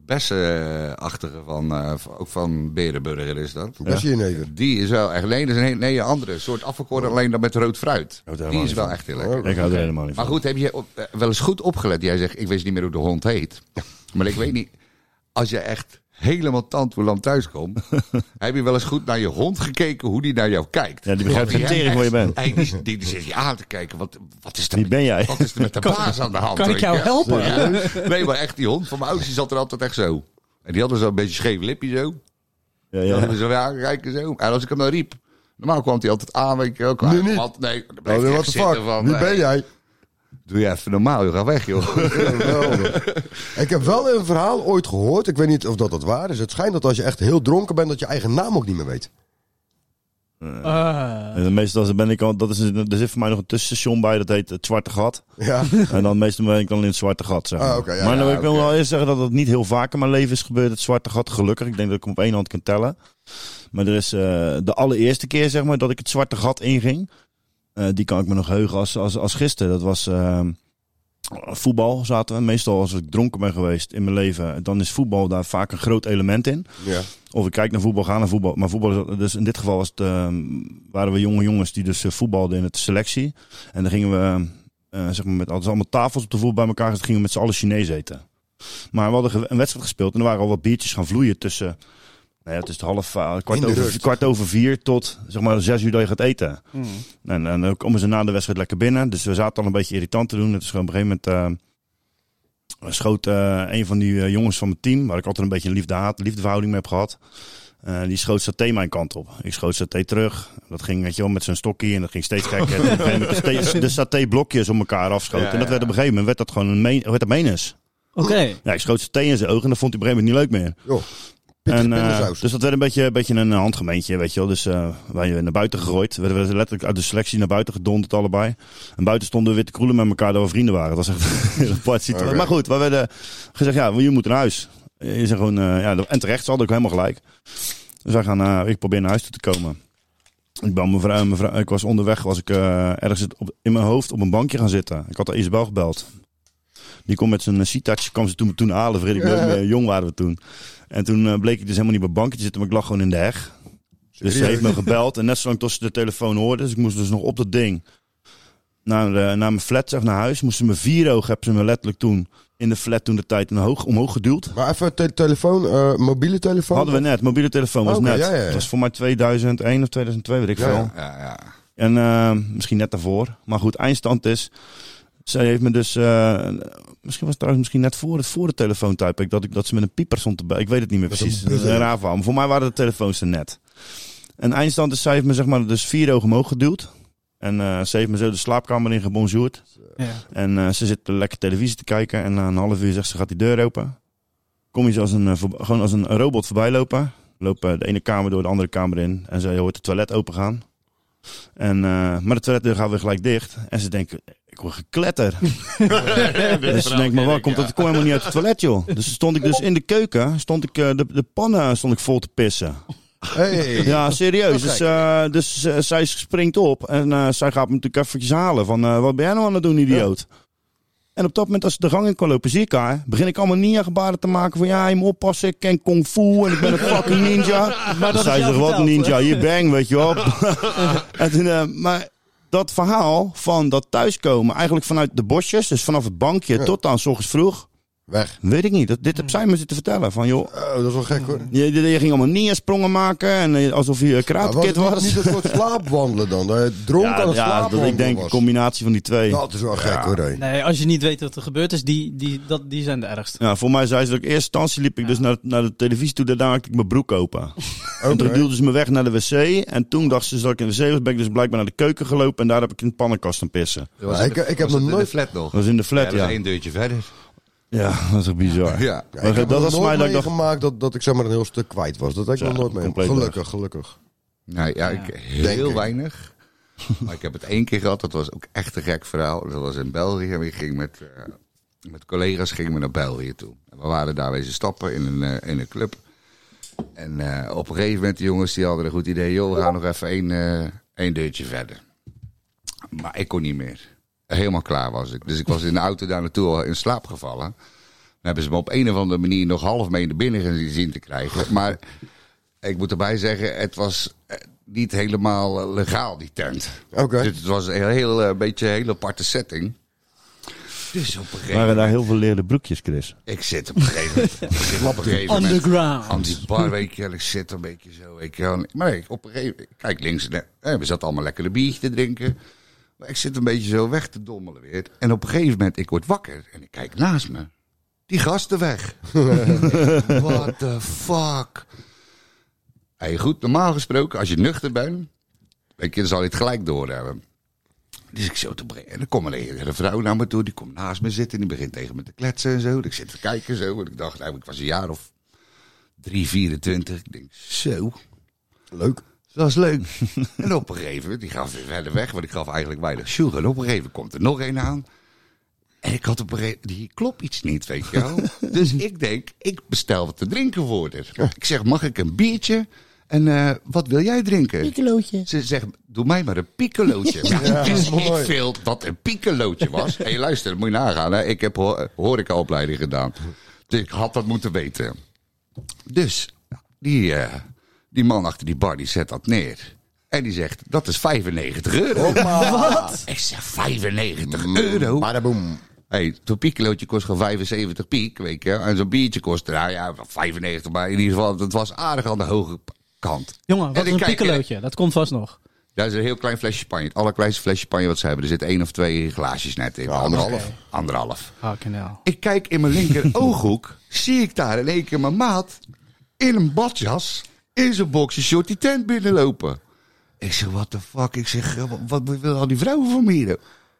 Speaker 5: bessenachtige van, eh, van- ook van Berenburger is dat. Dus
Speaker 1: Dat zie je even.
Speaker 5: Die is wel echt. Nee, dat is een, he- nee, een andere soort
Speaker 3: Oh.
Speaker 5: afgekort, alleen dan met rood fruit.
Speaker 3: houdt er
Speaker 5: Die is
Speaker 3: helemaal
Speaker 5: wel
Speaker 3: niet
Speaker 5: echt heel lekker.
Speaker 3: Ik hou er helemaal niet van.
Speaker 5: Maar goed, heb je op- eh, wel eens goed opgelet? Jij zegt, ik wist niet meer hoe de hond heet. Maar ik weet niet, als je echt helemaal tandwoelam thuis kom. heb je wel eens goed naar je hond gekeken hoe die naar jou kijkt?
Speaker 3: Ja, die begrijpt
Speaker 5: Want
Speaker 3: geen tering
Speaker 5: echt-
Speaker 3: waar je bent.
Speaker 5: Hey, die, die, die zit je aan te kijken. Wat, wat is er
Speaker 3: Wie ben jij?
Speaker 5: Wat is er met de baas aan de hand?
Speaker 2: kan ik
Speaker 5: weet je?
Speaker 2: jou helpen?
Speaker 5: Ja. Nee, maar echt, die hond van mijn ouders die zat er altijd echt zo. En die hadden zo'n beetje scheef lipje zo.
Speaker 3: Ja,
Speaker 5: Dan
Speaker 3: ja.
Speaker 5: hadden we zo ja, kijken zo. En als ik hem dan riep, normaal kwam hij altijd aan, weet je ook.
Speaker 1: Nu niet.
Speaker 5: Nou, Wat, nee, dan bleef
Speaker 1: Oh,
Speaker 5: hij
Speaker 1: what
Speaker 5: echt
Speaker 1: the
Speaker 5: zitten
Speaker 1: fuck?
Speaker 5: van,
Speaker 1: Wie
Speaker 5: nee,
Speaker 1: ben jij?
Speaker 5: Doe je even normaal, joh, ga weg joh.
Speaker 1: Geweldig. ik heb wel een verhaal ooit gehoord. Ik weet niet of dat dat waar is. Het schijnt dat als je echt heel dronken bent, dat je eigen naam ook niet meer weet.
Speaker 2: Ah.
Speaker 3: En meestal ben ik al, dat is, een- er zit voor mij nog een tussenstation bij, dat heet het Zwarte Gat.
Speaker 1: Ja.
Speaker 3: En dan meestal ben ik dan in het zwarte gat, zeg maar.
Speaker 1: Ah, oké, ja,
Speaker 3: maar dan,
Speaker 5: ja,
Speaker 3: ik wil
Speaker 5: oké.
Speaker 3: wel eerst zeggen dat dat niet heel vaak in mijn leven is gebeurd, het zwarte gat, gelukkig. Ik denk dat ik hem op één hand kan tellen. Maar er is eh, de allereerste keer, zeg maar, dat ik het zwarte gat inging. eh, die kan ik me nog heugen als, als, als gisteren. Dat was ehm, voetbal, zaten we. Meestal als ik dronken ben geweest in mijn leven, dan is voetbal daar vaak een groot element in.
Speaker 1: ja.
Speaker 3: Of ik kijk naar voetbal, ga naar voetbal. Maar voetbal, is- dus in dit geval was het, ehm, waren we jonge jongens die dus eh, voetbalden in het selectie. En dan gingen we, eh, zeg maar, met hadden ze allemaal tafels op de voet bij elkaar. Dus gingen we met z'n allen Chinees eten. Maar we hadden ge- een wedstrijd gespeeld en er waren al wat biertjes gaan vloeien tussen... Nou ja, het is het half, eh, kwart,
Speaker 1: In de
Speaker 3: over,
Speaker 1: rust. Mm.
Speaker 3: kwart over vier tot zeg maar zes uur dat je gaat eten. En, en dan komen ze na de wedstrijd lekker binnen. Dus we zaten al een beetje irritant te doen. Het is gewoon op een gegeven moment... eh, er schoot eh, een van die eh, jongens van mijn team, waar ik altijd een beetje een liefde-haat, liefdeverhouding mee heb gehad. eh, die schoot saté mijn kant op. Ik schoot saté terug. Dat ging weet je wel, met zijn stokje en dat ging steeds gekker. en op een gegeven moment de ste- de saté-blokjes om elkaar afschoten.
Speaker 5: Ja,
Speaker 3: en dat werd op een gegeven moment werd dat gewoon een meen, werd dat menens.
Speaker 2: Oké.
Speaker 3: Ja, ik schoot saté in zijn ogen en dat vond hij op een gegeven moment niet leuk meer.
Speaker 1: Joh. En,
Speaker 3: En, eh, dus dat werd een beetje, een beetje een eh, handgemeentje, weet je wel. Dus eh wij werden naar buiten gegooid. We werden letterlijk uit de selectie naar buiten gedonderd allebei. En buiten stonden we weer te kroelen met elkaar dat we vrienden waren. Dat was echt een hele apart situatie.
Speaker 1: Oké.
Speaker 3: Maar goed, we werden gezegd, ja, je moet naar huis. Is er gewoon, eh, ja, en terecht, ze hadden ook helemaal gelijk. Dus wij gaan, eh, ik probeer naar huis toe te komen. Ik, bel mijn vrouw, mijn vrouw, ik was onderweg, was ik eh, ergens op, in mijn hoofd op een bankje gaan zitten. Ik had al Isabel gebeld. Die kon met zijn eh, C-touch, kwam ze toen, toen halen, vergeet ik nooit meer. Jong waren we toen. En toen eh, bleek ik dus helemaal niet op een bankje te zitten, maar ik lag gewoon in de heg. Dus ze heeft me gebeld en net zolang tot ze de telefoon hoorde, dus ik moest dus nog op dat ding naar, de- naar mijn flat, zeg, naar huis. Moesten mijn vier ogen, hebben ze me letterlijk toen in de flat toen de tijd een hoog, omhoog geduwd.
Speaker 1: Maar even te- telefoon, eh, mobiele telefoon.
Speaker 3: Hadden we net, mobiele telefoon was
Speaker 1: Oké,
Speaker 3: net.
Speaker 1: ja, ja, ja.
Speaker 3: Het was voor mij 2001 of 2002, weet ik
Speaker 1: Ja,
Speaker 3: veel.
Speaker 1: ja.
Speaker 5: Ja, ja.
Speaker 3: En eh, misschien net daarvoor. Maar goed, eindstand is. Zij heeft me dus. eh, misschien was het trouwens misschien net voor het, voor de telefoontype. Ik, dat, ik, dat ze met een pieper stond erbij. Ik weet het niet meer
Speaker 1: Met
Speaker 3: precies.
Speaker 1: een
Speaker 3: Dat is een
Speaker 1: buzzer.
Speaker 3: raar verhaal. Maar voor mij waren de telefoons er net. En eindstand is, zij heeft me zeg maar dus vier ogen omhoog geduwd. En eh, ze heeft me zo de slaapkamer in gebonjourd.
Speaker 2: Ja.
Speaker 3: En eh, ze zit lekker televisie te kijken. En na een half uur zegt ze, gaat die deur open. Kom je ze als een, eh, voor- gewoon als een robot voorbij lopen. Loop eh, de ene kamer door de andere kamer in. En ze hoort het toilet open gaan. En, eh, maar de toiletdeur gaat weer gelijk dicht. En ze denkt, ik hoor gekletter. dus ze denkt, maar waar komt dat? Ik kom helemaal niet uit het toilet, joh. Dus stond ik dus in de keuken. Stond ik eh, de, de pannen stond ik vol te pissen.
Speaker 1: Hey.
Speaker 3: Ja, serieus. Dus, eh, dus eh, zij springt op en eh, zij gaat me natuurlijk eventjes halen van eh, wat ben jij nou aan het doen, idioot? En op dat moment, als ze de gang in kan lopen, zie ik haar. Begin ik allemaal ninja-gebaren te maken van ja, je moet oppassen, ik ken kung fu en ik ben een fucking ninja.
Speaker 2: Maar
Speaker 3: Dan
Speaker 2: dat
Speaker 3: zei
Speaker 2: is
Speaker 3: ze,
Speaker 2: jou
Speaker 3: wat
Speaker 2: verteld,
Speaker 3: ninja, je bang, weet je wel. en toen, eh, maar dat verhaal van dat thuiskomen, eigenlijk vanuit de bosjes, dus vanaf het bankje
Speaker 1: Ja.
Speaker 3: tot aan s ochtends vroeg,
Speaker 1: Weg.
Speaker 3: weet ik niet. Dat, dit
Speaker 2: Mm.
Speaker 3: heb zij me zitten vertellen van joh,
Speaker 1: Oh, dat is wel gek hoor.
Speaker 3: je, je ging allemaal ninja-sprongen maken en eh, alsof je een
Speaker 1: Maar was het
Speaker 3: karatekid
Speaker 1: niet-
Speaker 3: was.
Speaker 1: Niet een soort slaapwandelen dan. Dat je dronken aan het
Speaker 3: dat
Speaker 1: slaapwandelen
Speaker 3: ik denk een
Speaker 1: was.
Speaker 3: combinatie van die twee.
Speaker 1: Dat is wel gek hoor. hé.
Speaker 2: Nee, als je niet weet wat er gebeurd is, die, die, dat, die zijn de ergste.
Speaker 3: Ja, voor mij zei ze dat ik eerst instantie liep ik dus naar, naar de televisie toe. Daarna maakte ik mijn broek open. En toen
Speaker 1: Oké.
Speaker 3: duwde ze me weg naar de wc. En toen dacht ze dus dat ik in de wc was. Ben ik dus blijkbaar naar de keuken gelopen. En daar heb ik in de pannenkast aan pissen.
Speaker 5: Dat was
Speaker 1: Ja,
Speaker 5: in
Speaker 1: ik-
Speaker 5: de-
Speaker 1: ik heb
Speaker 5: was
Speaker 1: nog
Speaker 5: dat in
Speaker 1: nooit-
Speaker 5: de flat nog.
Speaker 3: Dat was in de
Speaker 5: Ja,
Speaker 3: flat,
Speaker 5: dat
Speaker 3: ja.
Speaker 5: was
Speaker 3: Ja,
Speaker 5: één deurtje verder.
Speaker 3: dat is echt bizar.
Speaker 5: Ja.
Speaker 1: Ja, ik heb
Speaker 3: dat
Speaker 1: dat
Speaker 3: was
Speaker 1: nog
Speaker 3: mij
Speaker 1: nooit
Speaker 3: dat ik dacht-
Speaker 1: meegemaakt dat, dat ik zeg maar een heel stuk kwijt was. Dat heb ik
Speaker 3: Ja,
Speaker 1: nog nooit meegemaakt.
Speaker 3: compleet weg.
Speaker 1: Gelukkig, gelukkig.
Speaker 5: Nou ja, ik,
Speaker 1: Denk
Speaker 5: heel
Speaker 1: ik.
Speaker 5: weinig. Maar ik heb het één keer gehad, dat was ook echt een gek verhaal. Dat was in België en ik ging met, eh, met collega's gingen we naar België toe. En we waren daar wezen stappen in een, eh, in een club. En eh, op een gegeven moment, die jongens die hadden een goed idee. Joh, we gaan nog even één, eh, één deurtje verder. Maar ik kon niet meer. Helemaal klaar was ik. Dus ik was in de auto daar naartoe al in slaap gevallen. Dan hebben ze me op een of andere manier nog half mee naar binnen gezien te krijgen. Maar ik moet erbij zeggen, het was eh, niet helemaal eh, legaal, die tent.
Speaker 1: Oké.
Speaker 5: Dus het was een heel, eh, beetje een hele aparte setting. Dus op een gegeven
Speaker 3: Waren
Speaker 5: moment.
Speaker 3: daar heel veel leren broekjes, Chris?
Speaker 5: eh, Ik zit op een gegeven moment. ik zit op een gegeven moment aan
Speaker 2: Underground.
Speaker 5: die bar, weet je wel. Ik zit een beetje zo. Ik, maar ik, op een gegeven moment. ik Kijk links. en rechts. Eh, We zaten allemaal lekker een biertje te drinken. Maar ik zit een beetje zo weg te dommelen weer. En op een gegeven moment, ik word wakker. En ik kijk naast me. Die gasten weg. What the fuck? Hey, goed, normaal gesproken, als je nuchter bent, weet je, dan zal je het gelijk doorhebben. Dus ik zo te brengen. En dan komt een, een vrouw naar me toe, die komt naast me zitten. En die begint tegen me te kletsen en zo. En ik zit te kijken zo. En ik dacht, nou, ik was een jaar of 3, 24. Ik denk, zo,
Speaker 1: Leuk.
Speaker 5: dat is leuk. en op een gegeven moment, die gaf weer verder weg, want ik gaf eigenlijk weinig sugar. En op een gegeven moment komt er nog één aan. En ik had op een gegeven moment, hier klopt iets niet, weet je wel. dus ik denk, ik bestel wat te drinken voor haar. Ik zeg, mag ik een biertje? En eh, wat wil jij drinken? Piccolootje. Ze zegt, doe mij maar een piccolootje. ja,
Speaker 1: dat is
Speaker 5: dus
Speaker 1: wel
Speaker 5: ik
Speaker 1: mooi.
Speaker 5: veel dat een piccolootje was. Hé, hey, luister, dat moet je nagaan. Hè? Ik heb ho- horecaopleiding gedaan. Dus ik had dat moeten weten. Dus die, eh, die man achter die bar die zet dat neer. En die zegt, dat is 95 euro. Wat? Ik zeg, 95 euro?
Speaker 1: Badaboom.
Speaker 5: hey, zo'n piekelootje kost gewoon 75 piek, weet je. En zo'n biertje kost, nou ja, 95. Maar in ieder geval, dat was aardig aan de hoge p- kant.
Speaker 2: Jongen,
Speaker 5: En
Speaker 2: wat
Speaker 5: ik
Speaker 2: is een
Speaker 5: kijk, eh,
Speaker 2: piccolootje? Dat komt vast nog.
Speaker 5: Dat is een heel klein flesje champagne. Het allerkleinste flesje champagne wat ze hebben. Er zit één of twee glaasjes net in. anderhalf. Anderhalf.
Speaker 2: Fucking hell.
Speaker 5: Ik kijk in mijn linker ooghoek. zie ik daar in één keer mijn maat. In een badjas. In zijn boxershort die tent binnenlopen. Ik zeg, what the fuck? Ik zeg, eh, wa- wat wil al die vrouwen van me hier?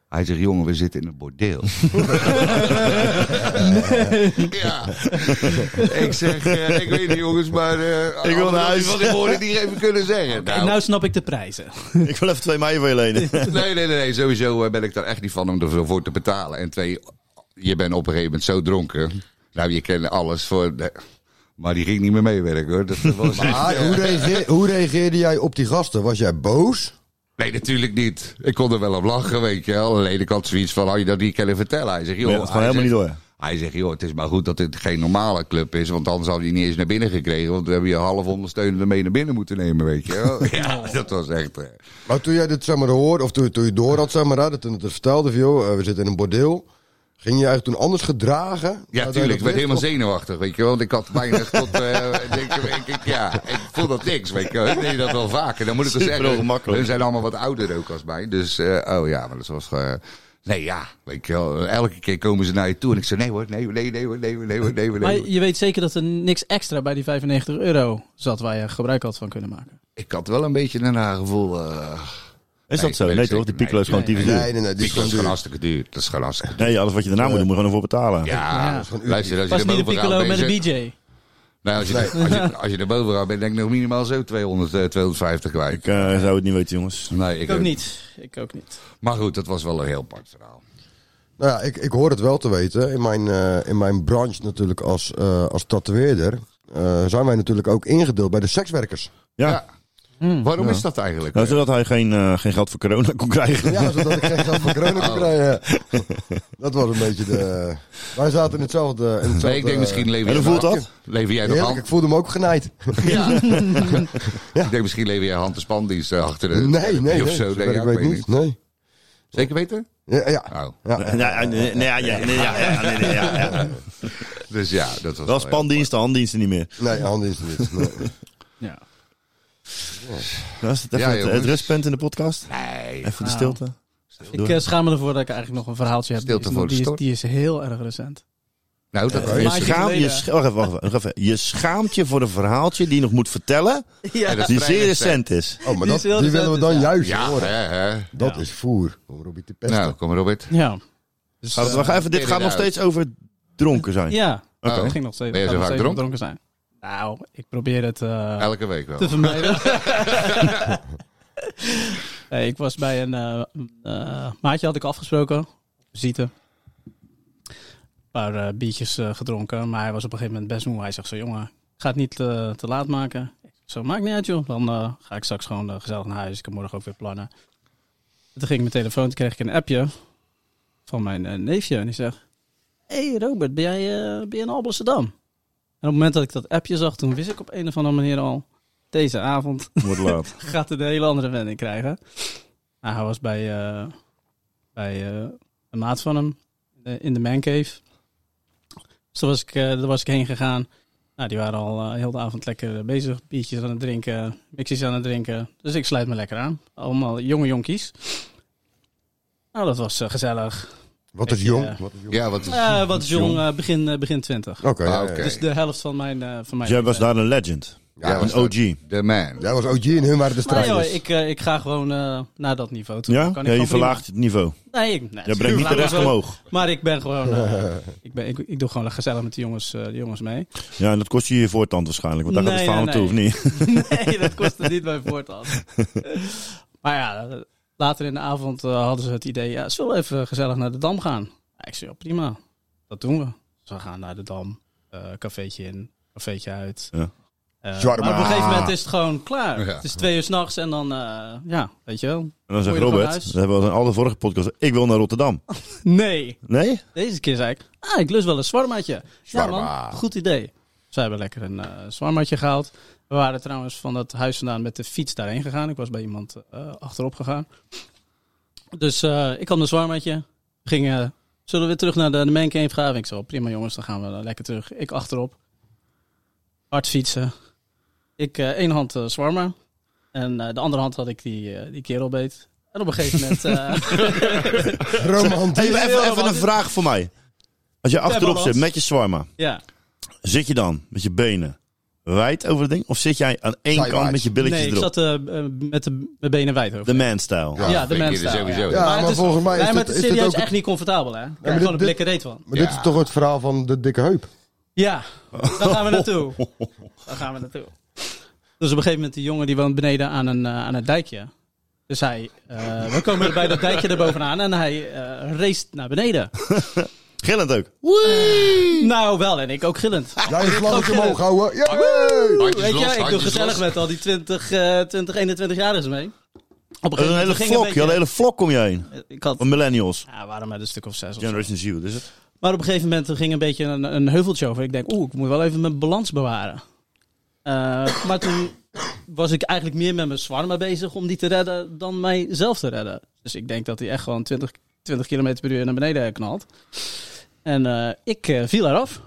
Speaker 5: Hij zegt, jongen, we zitten in een bordeel. ja. Ik zeg, eh, ik weet niet jongens, maar... eh,
Speaker 3: Ik wil naar
Speaker 5: had
Speaker 3: huis.
Speaker 5: Wat ik hoorde niet even kunnen zeggen.
Speaker 2: En nou snap ik de prijzen.
Speaker 3: Ik wil even twee mei voor je lenen.
Speaker 5: Nee, nee, nee, nee. Sowieso eh, ben ik daar echt niet van om ervoor te betalen. En twee, je bent op een gegeven moment zo dronken. Nou, je kent alles voor. de- Maar die ging niet meer meewerken hoor. Dat was
Speaker 1: Maar hoe, reageer- hoe reageerde jij op die gasten? Was jij boos?
Speaker 5: Nee, natuurlijk niet. Ik kon er wel op lachen, weet je wel. Alleen ik had zoiets van, had je dat niet kunnen vertellen? Hij zegt, joh...
Speaker 3: Nee, dat
Speaker 5: hij
Speaker 3: gaat helemaal
Speaker 5: zegt-
Speaker 3: niet
Speaker 5: Hij zegt, joh, het is maar goed dat dit geen normale club is. Want anders had hij niet eens naar binnen gekregen. Want we hebben je half ondersteunende mee naar binnen moeten nemen, weet je wel. Ja, dat was echt... eh,
Speaker 1: Maar toen jij dit zeg maar hoorde, of toen, toen je door had zeg maar, hè, dat toen het er vertelde van joh, eh, we zitten in een bordeel. Ging je je eigenlijk toen anders gedragen?
Speaker 5: Ja,
Speaker 1: Nadat je
Speaker 5: tuurlijk. Ik
Speaker 1: Nou, dat
Speaker 5: werd
Speaker 1: wist?
Speaker 5: helemaal zenuwachtig, weet je wel. Want ik had weinig tot... eh, ik denk, ik, ik- ja, ik voel dat niks, weet je wel. Ik deed dat wel vaker. Dan moet ik wel
Speaker 3: Super
Speaker 5: zeggen.
Speaker 3: ongemakkelijk.
Speaker 5: We zijn allemaal wat ouder ook als mij. Dus, eh, oh ja, maar dat was... eh, nee, ja, weet je wel. Elke keer komen ze naar je toe en ik zei... Nee hoor, nee, nee, nee hoor, nee hoor, nee hoor, nee hoor.
Speaker 2: Maar
Speaker 5: Nee, hoor.
Speaker 2: je weet zeker dat er niks extra bij die 95 euro zat waar je gebruik had van kunnen maken.
Speaker 5: Ik had wel een beetje een haar gevoel... eh
Speaker 3: Is
Speaker 5: Nee,
Speaker 3: dat zo?
Speaker 5: weet
Speaker 3: Nee
Speaker 5: ik
Speaker 3: toch? Die
Speaker 5: zeker.
Speaker 3: piccolo is
Speaker 5: Nee,
Speaker 3: gewoon tyfus duur.
Speaker 1: Nee, nee, nee.
Speaker 5: die
Speaker 1: Die
Speaker 5: is
Speaker 1: kwam
Speaker 5: gewoon
Speaker 1: duur.
Speaker 5: hartstikke duur. Dat is gewoon hartstikke duur.
Speaker 3: Nee, alles wat je daarna moet doen, moet je gewoon ervoor betalen.
Speaker 5: Ja,
Speaker 2: dat is
Speaker 5: luister, als je
Speaker 2: Pas
Speaker 5: er
Speaker 2: niet de
Speaker 5: bovenaan
Speaker 2: piccolo met
Speaker 5: bent,
Speaker 2: een
Speaker 5: zeg-
Speaker 2: DJ.
Speaker 5: Nou, als je,
Speaker 1: Nee.
Speaker 5: als je, als je er bovenaan bent, denk ik nog minimaal zo 200, eh, 250 kwijt.
Speaker 3: Ik eh, zou het niet weten, jongens.
Speaker 5: Nee,
Speaker 2: Ik ook niet. Ik ook niet.
Speaker 5: Maar goed, dat was wel een heel apart verhaal.
Speaker 1: Nou ja, ik, ik hoor het wel te weten. In mijn, eh, in mijn branche natuurlijk als, eh, als tatoeëerder eh, zijn wij natuurlijk ook ingedeeld bij de sekswerkers.
Speaker 3: Ja.
Speaker 5: Ja.
Speaker 3: Hmm.
Speaker 5: Waarom is dat eigenlijk?
Speaker 3: Nou, zodat hij geen, eh, geen geld voor corona kon krijgen.
Speaker 1: Ja, zodat ik geen geld van corona kon krijgen. Oh. Dat was een beetje de... Wij zaten in hetzelfde... In hetzelfde
Speaker 5: Nee, ik denk misschien leven
Speaker 3: En hoe
Speaker 5: jij
Speaker 3: voelt
Speaker 5: nog-
Speaker 3: dat?
Speaker 5: Leven jij nog
Speaker 1: Eh,
Speaker 5: eh,
Speaker 1: Heerlijk, ik
Speaker 5: hand?
Speaker 1: voelde me ook genaaid.
Speaker 5: Ja. Ik denk misschien leven jij hand de spandienst eh, achter de.
Speaker 1: Nee, nee, nee.
Speaker 5: Of zo,
Speaker 1: zover
Speaker 5: nee, ja,
Speaker 1: ik weet niet. Nee.
Speaker 5: Zeker weten?
Speaker 1: Ja, ja.
Speaker 5: Nou,
Speaker 1: ja.
Speaker 3: Ja, nee, nee, ja, ja, nee, ja, ja, nee, nee, ja, ja.
Speaker 5: dus ja, dat was.
Speaker 3: Wel
Speaker 5: heel
Speaker 3: spandiensten, handdiensten niet meer.
Speaker 1: Nee, handen is het niet. Oh, Nee.
Speaker 2: Ja.
Speaker 3: Dat is het, even
Speaker 5: Ja,
Speaker 3: het,
Speaker 5: jongens.
Speaker 3: het rustpunt in de podcast.
Speaker 5: apart. Nee.
Speaker 3: Even de
Speaker 2: Nou.
Speaker 3: stilte.
Speaker 2: Ik eh, schaam me ervoor dat ik eigenlijk nog een verhaaltje heb.
Speaker 5: Stilte
Speaker 2: die, is,
Speaker 5: voor de
Speaker 2: die, is,
Speaker 5: storm.
Speaker 2: die is heel erg recent.
Speaker 5: Nou, dat
Speaker 3: Je,
Speaker 5: is.
Speaker 2: maandje
Speaker 3: schaam, je,
Speaker 2: geleden.
Speaker 3: sch- wacht even, wacht even, wacht even. je schaamt je voor een verhaaltje die je nog moet vertellen.
Speaker 2: Ja,
Speaker 5: dat
Speaker 3: Die
Speaker 5: vrij
Speaker 3: zeer recent
Speaker 5: recent.
Speaker 3: is.
Speaker 1: Oh, maar
Speaker 2: Die
Speaker 1: dat,
Speaker 2: is heel
Speaker 1: die willen we dan
Speaker 2: recent, ja.
Speaker 1: juist
Speaker 5: Ja,
Speaker 1: horen.
Speaker 5: hè, hè.
Speaker 1: Dat is voer. Om Robbie te pesten.
Speaker 5: Nou, kom Robert.
Speaker 2: Ja. Dus, eh,
Speaker 3: Gaat het, wacht even, dit gaat nog
Speaker 5: inderdaad.
Speaker 3: steeds over dronken zijn.
Speaker 2: Ja,
Speaker 3: Oké.
Speaker 2: Nou, het ging nog steeds.
Speaker 5: Ben je
Speaker 2: het
Speaker 5: zo
Speaker 2: gaat
Speaker 5: vaak
Speaker 2: nog steeds om dronken zijn? Nou, ik probeer het eh,
Speaker 5: Elke week wel.
Speaker 2: te vermijden. nee, ik was bij een eh, eh, maatje, had ik afgesproken. Zieten. Een paar eh, biertjes eh, gedronken, maar hij was op een gegeven moment best moe. Hij zegt zo, jongen, ik ga het niet eh, te laat maken. Ik zeg Zo, maakt niet uit joh. Dan eh, ga ik straks gewoon eh, gezellig naar huis. Ik heb morgen ook weer plannen. En toen ging ik mijn telefoon, toen kreeg ik een appje van mijn eh, neefje. En die zegt, hey Robert, ben jij, eh, ben je in Alblasserdam? En op het moment dat ik dat appje zag, toen wist ik op een of andere manier al... Deze avond
Speaker 3: Wordt laat.
Speaker 2: gaat het een hele andere wending Nou, krijgen. Maar hij was bij, eh, bij eh, een maat van hem. eh, in de mancave. Dus daar was ik, eh, daar was ik heen gegaan. Nou, die waren al eh, heel de avond lekker bezig. Biertjes aan het drinken, mixies aan het drinken. Dus ik sluit me lekker aan. Allemaal jonge jonkies. Nou, dat was eh, gezellig.
Speaker 1: Wat is
Speaker 2: Ik,
Speaker 1: jong?
Speaker 2: eh,
Speaker 1: Wat is jong?
Speaker 5: Ja, wat is...
Speaker 2: Eh, wat is jong, eh, begin, eh, begin 20.
Speaker 1: Oké,
Speaker 5: Ah,
Speaker 1: ja, ja.
Speaker 5: oké.
Speaker 2: Dus de helft van mijn... eh, van mijn
Speaker 3: Jij was daar een legend.
Speaker 1: Ja,
Speaker 5: Jij
Speaker 1: was
Speaker 3: Een
Speaker 5: was
Speaker 3: OG.
Speaker 5: de man.
Speaker 1: Jij was OG en hun waren de
Speaker 2: Maar
Speaker 1: strijders.
Speaker 2: joh, ik, eh, ik ga gewoon eh, naar dat niveau toe.
Speaker 3: Ja?
Speaker 2: Dan kan ik
Speaker 3: ja je
Speaker 2: gewoon prima-
Speaker 3: verlaagt het niveau.
Speaker 2: Nee, ik, nee,
Speaker 3: Jij brengt niet de
Speaker 2: laat
Speaker 3: rest
Speaker 2: maar zo.
Speaker 3: omhoog.
Speaker 2: Maar ik ben gewoon... eh, ik, ben, ik, ik doe gewoon gezellig met de jongens, eh, de jongens mee.
Speaker 3: Ja, en dat kost je je voortand waarschijnlijk. Want daar gaat het
Speaker 2: Nee,
Speaker 3: verhaal
Speaker 2: nee,
Speaker 3: naartoe, of niet?
Speaker 2: nee, dat kostte niet mijn voortaan. maar ja, eh, later in de avond eh, hadden ze het idee... Ja, zullen we even gezellig naar de Dam gaan? Ja, ik zei, ja, prima. Dat doen we. Dus we gaan naar de Dam. eh cafeetje in, cafeetje uit.
Speaker 3: Ja.
Speaker 2: Eh,
Speaker 1: Zwarma.
Speaker 2: maar op een gegeven moment is het gewoon klaar.
Speaker 5: Ja.
Speaker 2: Het is twee uur s'nachts en dan... eh, ja, weet je wel.
Speaker 3: En dan zegt
Speaker 2: Moet je nog
Speaker 3: Robert,
Speaker 2: naar huis?
Speaker 3: dat hebben we al in alle vorige podcast. Ik wil naar Rotterdam.
Speaker 2: Nee.
Speaker 3: Nee?
Speaker 2: Deze keer zei ik, ah, ik lust wel een zwarmaatje. Ja
Speaker 1: Shawarma.
Speaker 2: man, goed idee. Ze hebben lekker een eh zwarmaatje gehaald. We waren trouwens van dat huis vandaan met de fiets daarheen gegaan. Ik was bij iemand eh, achterop gegaan. Dus eh, ik had een zwarmaatje. Ging, eh, zullen we weer terug naar de, de mancave gaan? Ik zo, prima jongens, dan gaan we eh, lekker terug. Ik achterop. Hard fietsen. Ik eh één hand eh zwarma. En eh, de andere hand had ik die, eh, die kerel beet. En op een gegeven moment... eh,
Speaker 1: Romantisch.
Speaker 3: Even,
Speaker 2: heel
Speaker 3: even, even een
Speaker 2: romantisch.
Speaker 3: vraag voor mij. Als je achterop
Speaker 2: balans.
Speaker 3: zit met je zwarma,
Speaker 2: ja.
Speaker 3: zit je dan met je benen wijd over het ding? Of zit jij aan één
Speaker 1: Sideways.
Speaker 3: kant met je billetjes
Speaker 2: nee, ik
Speaker 3: erop?
Speaker 2: zat eh, eh, met de mijn benen wijd over.
Speaker 3: De man-style.
Speaker 5: Ja,
Speaker 2: ja, de
Speaker 5: vind ik
Speaker 2: mensen.
Speaker 1: Ja,
Speaker 5: sowieso.
Speaker 2: maar
Speaker 1: maar,
Speaker 2: het is-
Speaker 1: volgens mij is,
Speaker 2: nee, maar
Speaker 1: dit,
Speaker 2: het
Speaker 1: is
Speaker 2: is
Speaker 1: dit
Speaker 2: serieus
Speaker 1: ook...
Speaker 2: echt niet comfortabel, hè? Ik
Speaker 1: maar
Speaker 2: heb
Speaker 1: dit-
Speaker 2: gewoon een blikken reet van.
Speaker 1: Maar dit
Speaker 5: Ja.
Speaker 1: is toch het verhaal van de dikke heup?
Speaker 2: Ja, daar gaan we naartoe. Daar gaan we naartoe. Dus op een gegeven moment, die jongen die woont beneden aan een, eh, aan een dijkje. Dus hij, eh, we komen bij dat dijkje erbovenaan en hij eh race naar beneden.
Speaker 3: Gillend ook.
Speaker 2: Nou wel, en ik ook gillend.
Speaker 1: Ja, je vlammetje
Speaker 2: ook, eh,
Speaker 1: omhoog houden. Ja,
Speaker 5: Handjes
Speaker 2: Weet
Speaker 5: los,
Speaker 2: je, ik doe
Speaker 5: handjes
Speaker 2: gezellig
Speaker 5: los.
Speaker 2: met al die 20, eh 20 21-jarigen mee. Op een
Speaker 3: Een
Speaker 2: gegeven
Speaker 3: hele
Speaker 2: moment ging
Speaker 3: vlok. Je
Speaker 2: een
Speaker 3: had een
Speaker 2: beetje-
Speaker 3: hele vlok om je heen.
Speaker 2: Ik had,
Speaker 3: Van millennials.
Speaker 2: ja, we waren met een stuk of zes of zo.
Speaker 3: Generation Z, wat is het?
Speaker 2: Maar op een gegeven moment er ging een beetje een, een heuveltje over. Ik denk, oeh, ik moet wel even mijn balans bewaren. Eh, maar toen was ik eigenlijk meer met mijn zwarma bezig om die te redden dan mijzelf te redden. Dus ik denk dat hij echt gewoon 20, 20 km per uur naar beneden knalt. En eh, ik eh, viel eraf.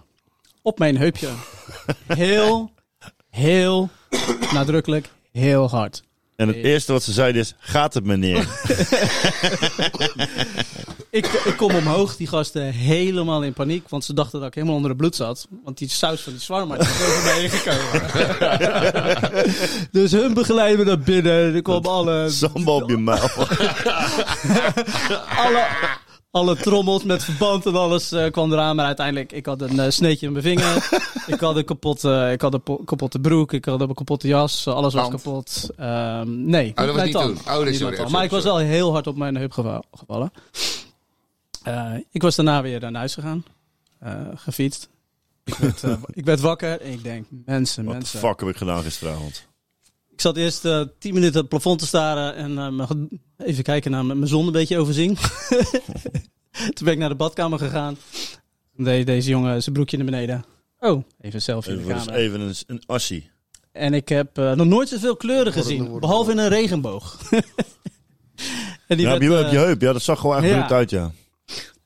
Speaker 2: Op mijn heupje. Heel, heel nadrukkelijk, heel hard.
Speaker 3: En het
Speaker 2: Ja.
Speaker 3: eerste wat ze zeiden is, gaat het meneer?
Speaker 2: Ik, ik kom omhoog, die gasten helemaal in paniek. Want ze dachten dat ik helemaal onder het bloed zat. Want die saus van die zwarma die is over mij heen gekomen. dus hun begeleiden me naar binnen. Er kwam alle,
Speaker 3: Samba op je mouw.
Speaker 2: alle, alle trommels met verband en alles eh, kwam eraan. Maar uiteindelijk, ik had een eh, sneetje in mijn vinger. ik had een kapotte, eh, ik had een po- kapotte broek. Ik had een kapotte jas. eh, Alles was
Speaker 5: Tand.
Speaker 2: kapot. Ehm, nee,
Speaker 5: was
Speaker 2: mijn
Speaker 5: niet
Speaker 2: tand.
Speaker 5: toen. Oh, dat is
Speaker 2: Niet
Speaker 5: sorry,
Speaker 2: mijn tand.
Speaker 5: sorry,
Speaker 2: Maar ik was
Speaker 5: sorry.
Speaker 2: wel heel hard op mijn heup geva- gevallen. Eh, ik was daarna weer naar huis gegaan. Eh, gefietst. Ik werd, eh, ik werd wakker en ik denk, mensen,
Speaker 3: Wat
Speaker 2: mensen.
Speaker 3: de fuck heb ik gedaan gisteravond?
Speaker 2: Ik zat eerst eh, 10 minuten op het plafond te staren en eh, mijn- even kijken naar mijn mijn zon een beetje overzien. Toen ben ik naar de badkamer gegaan. Toen deed deze jongen zijn broekje naar beneden. Oh, even een selfie in de
Speaker 3: Even,
Speaker 2: kamer.
Speaker 3: even een, een assie.
Speaker 2: En ik heb eh, nog nooit zoveel kleuren gezien,
Speaker 1: worden,
Speaker 2: behalve in een regenboog. en, die
Speaker 3: Ja, op
Speaker 2: werd,
Speaker 3: je,
Speaker 2: eh,
Speaker 3: op je heup. Ja, dat zag gewoon echt
Speaker 2: ja.
Speaker 3: goed uit, ja.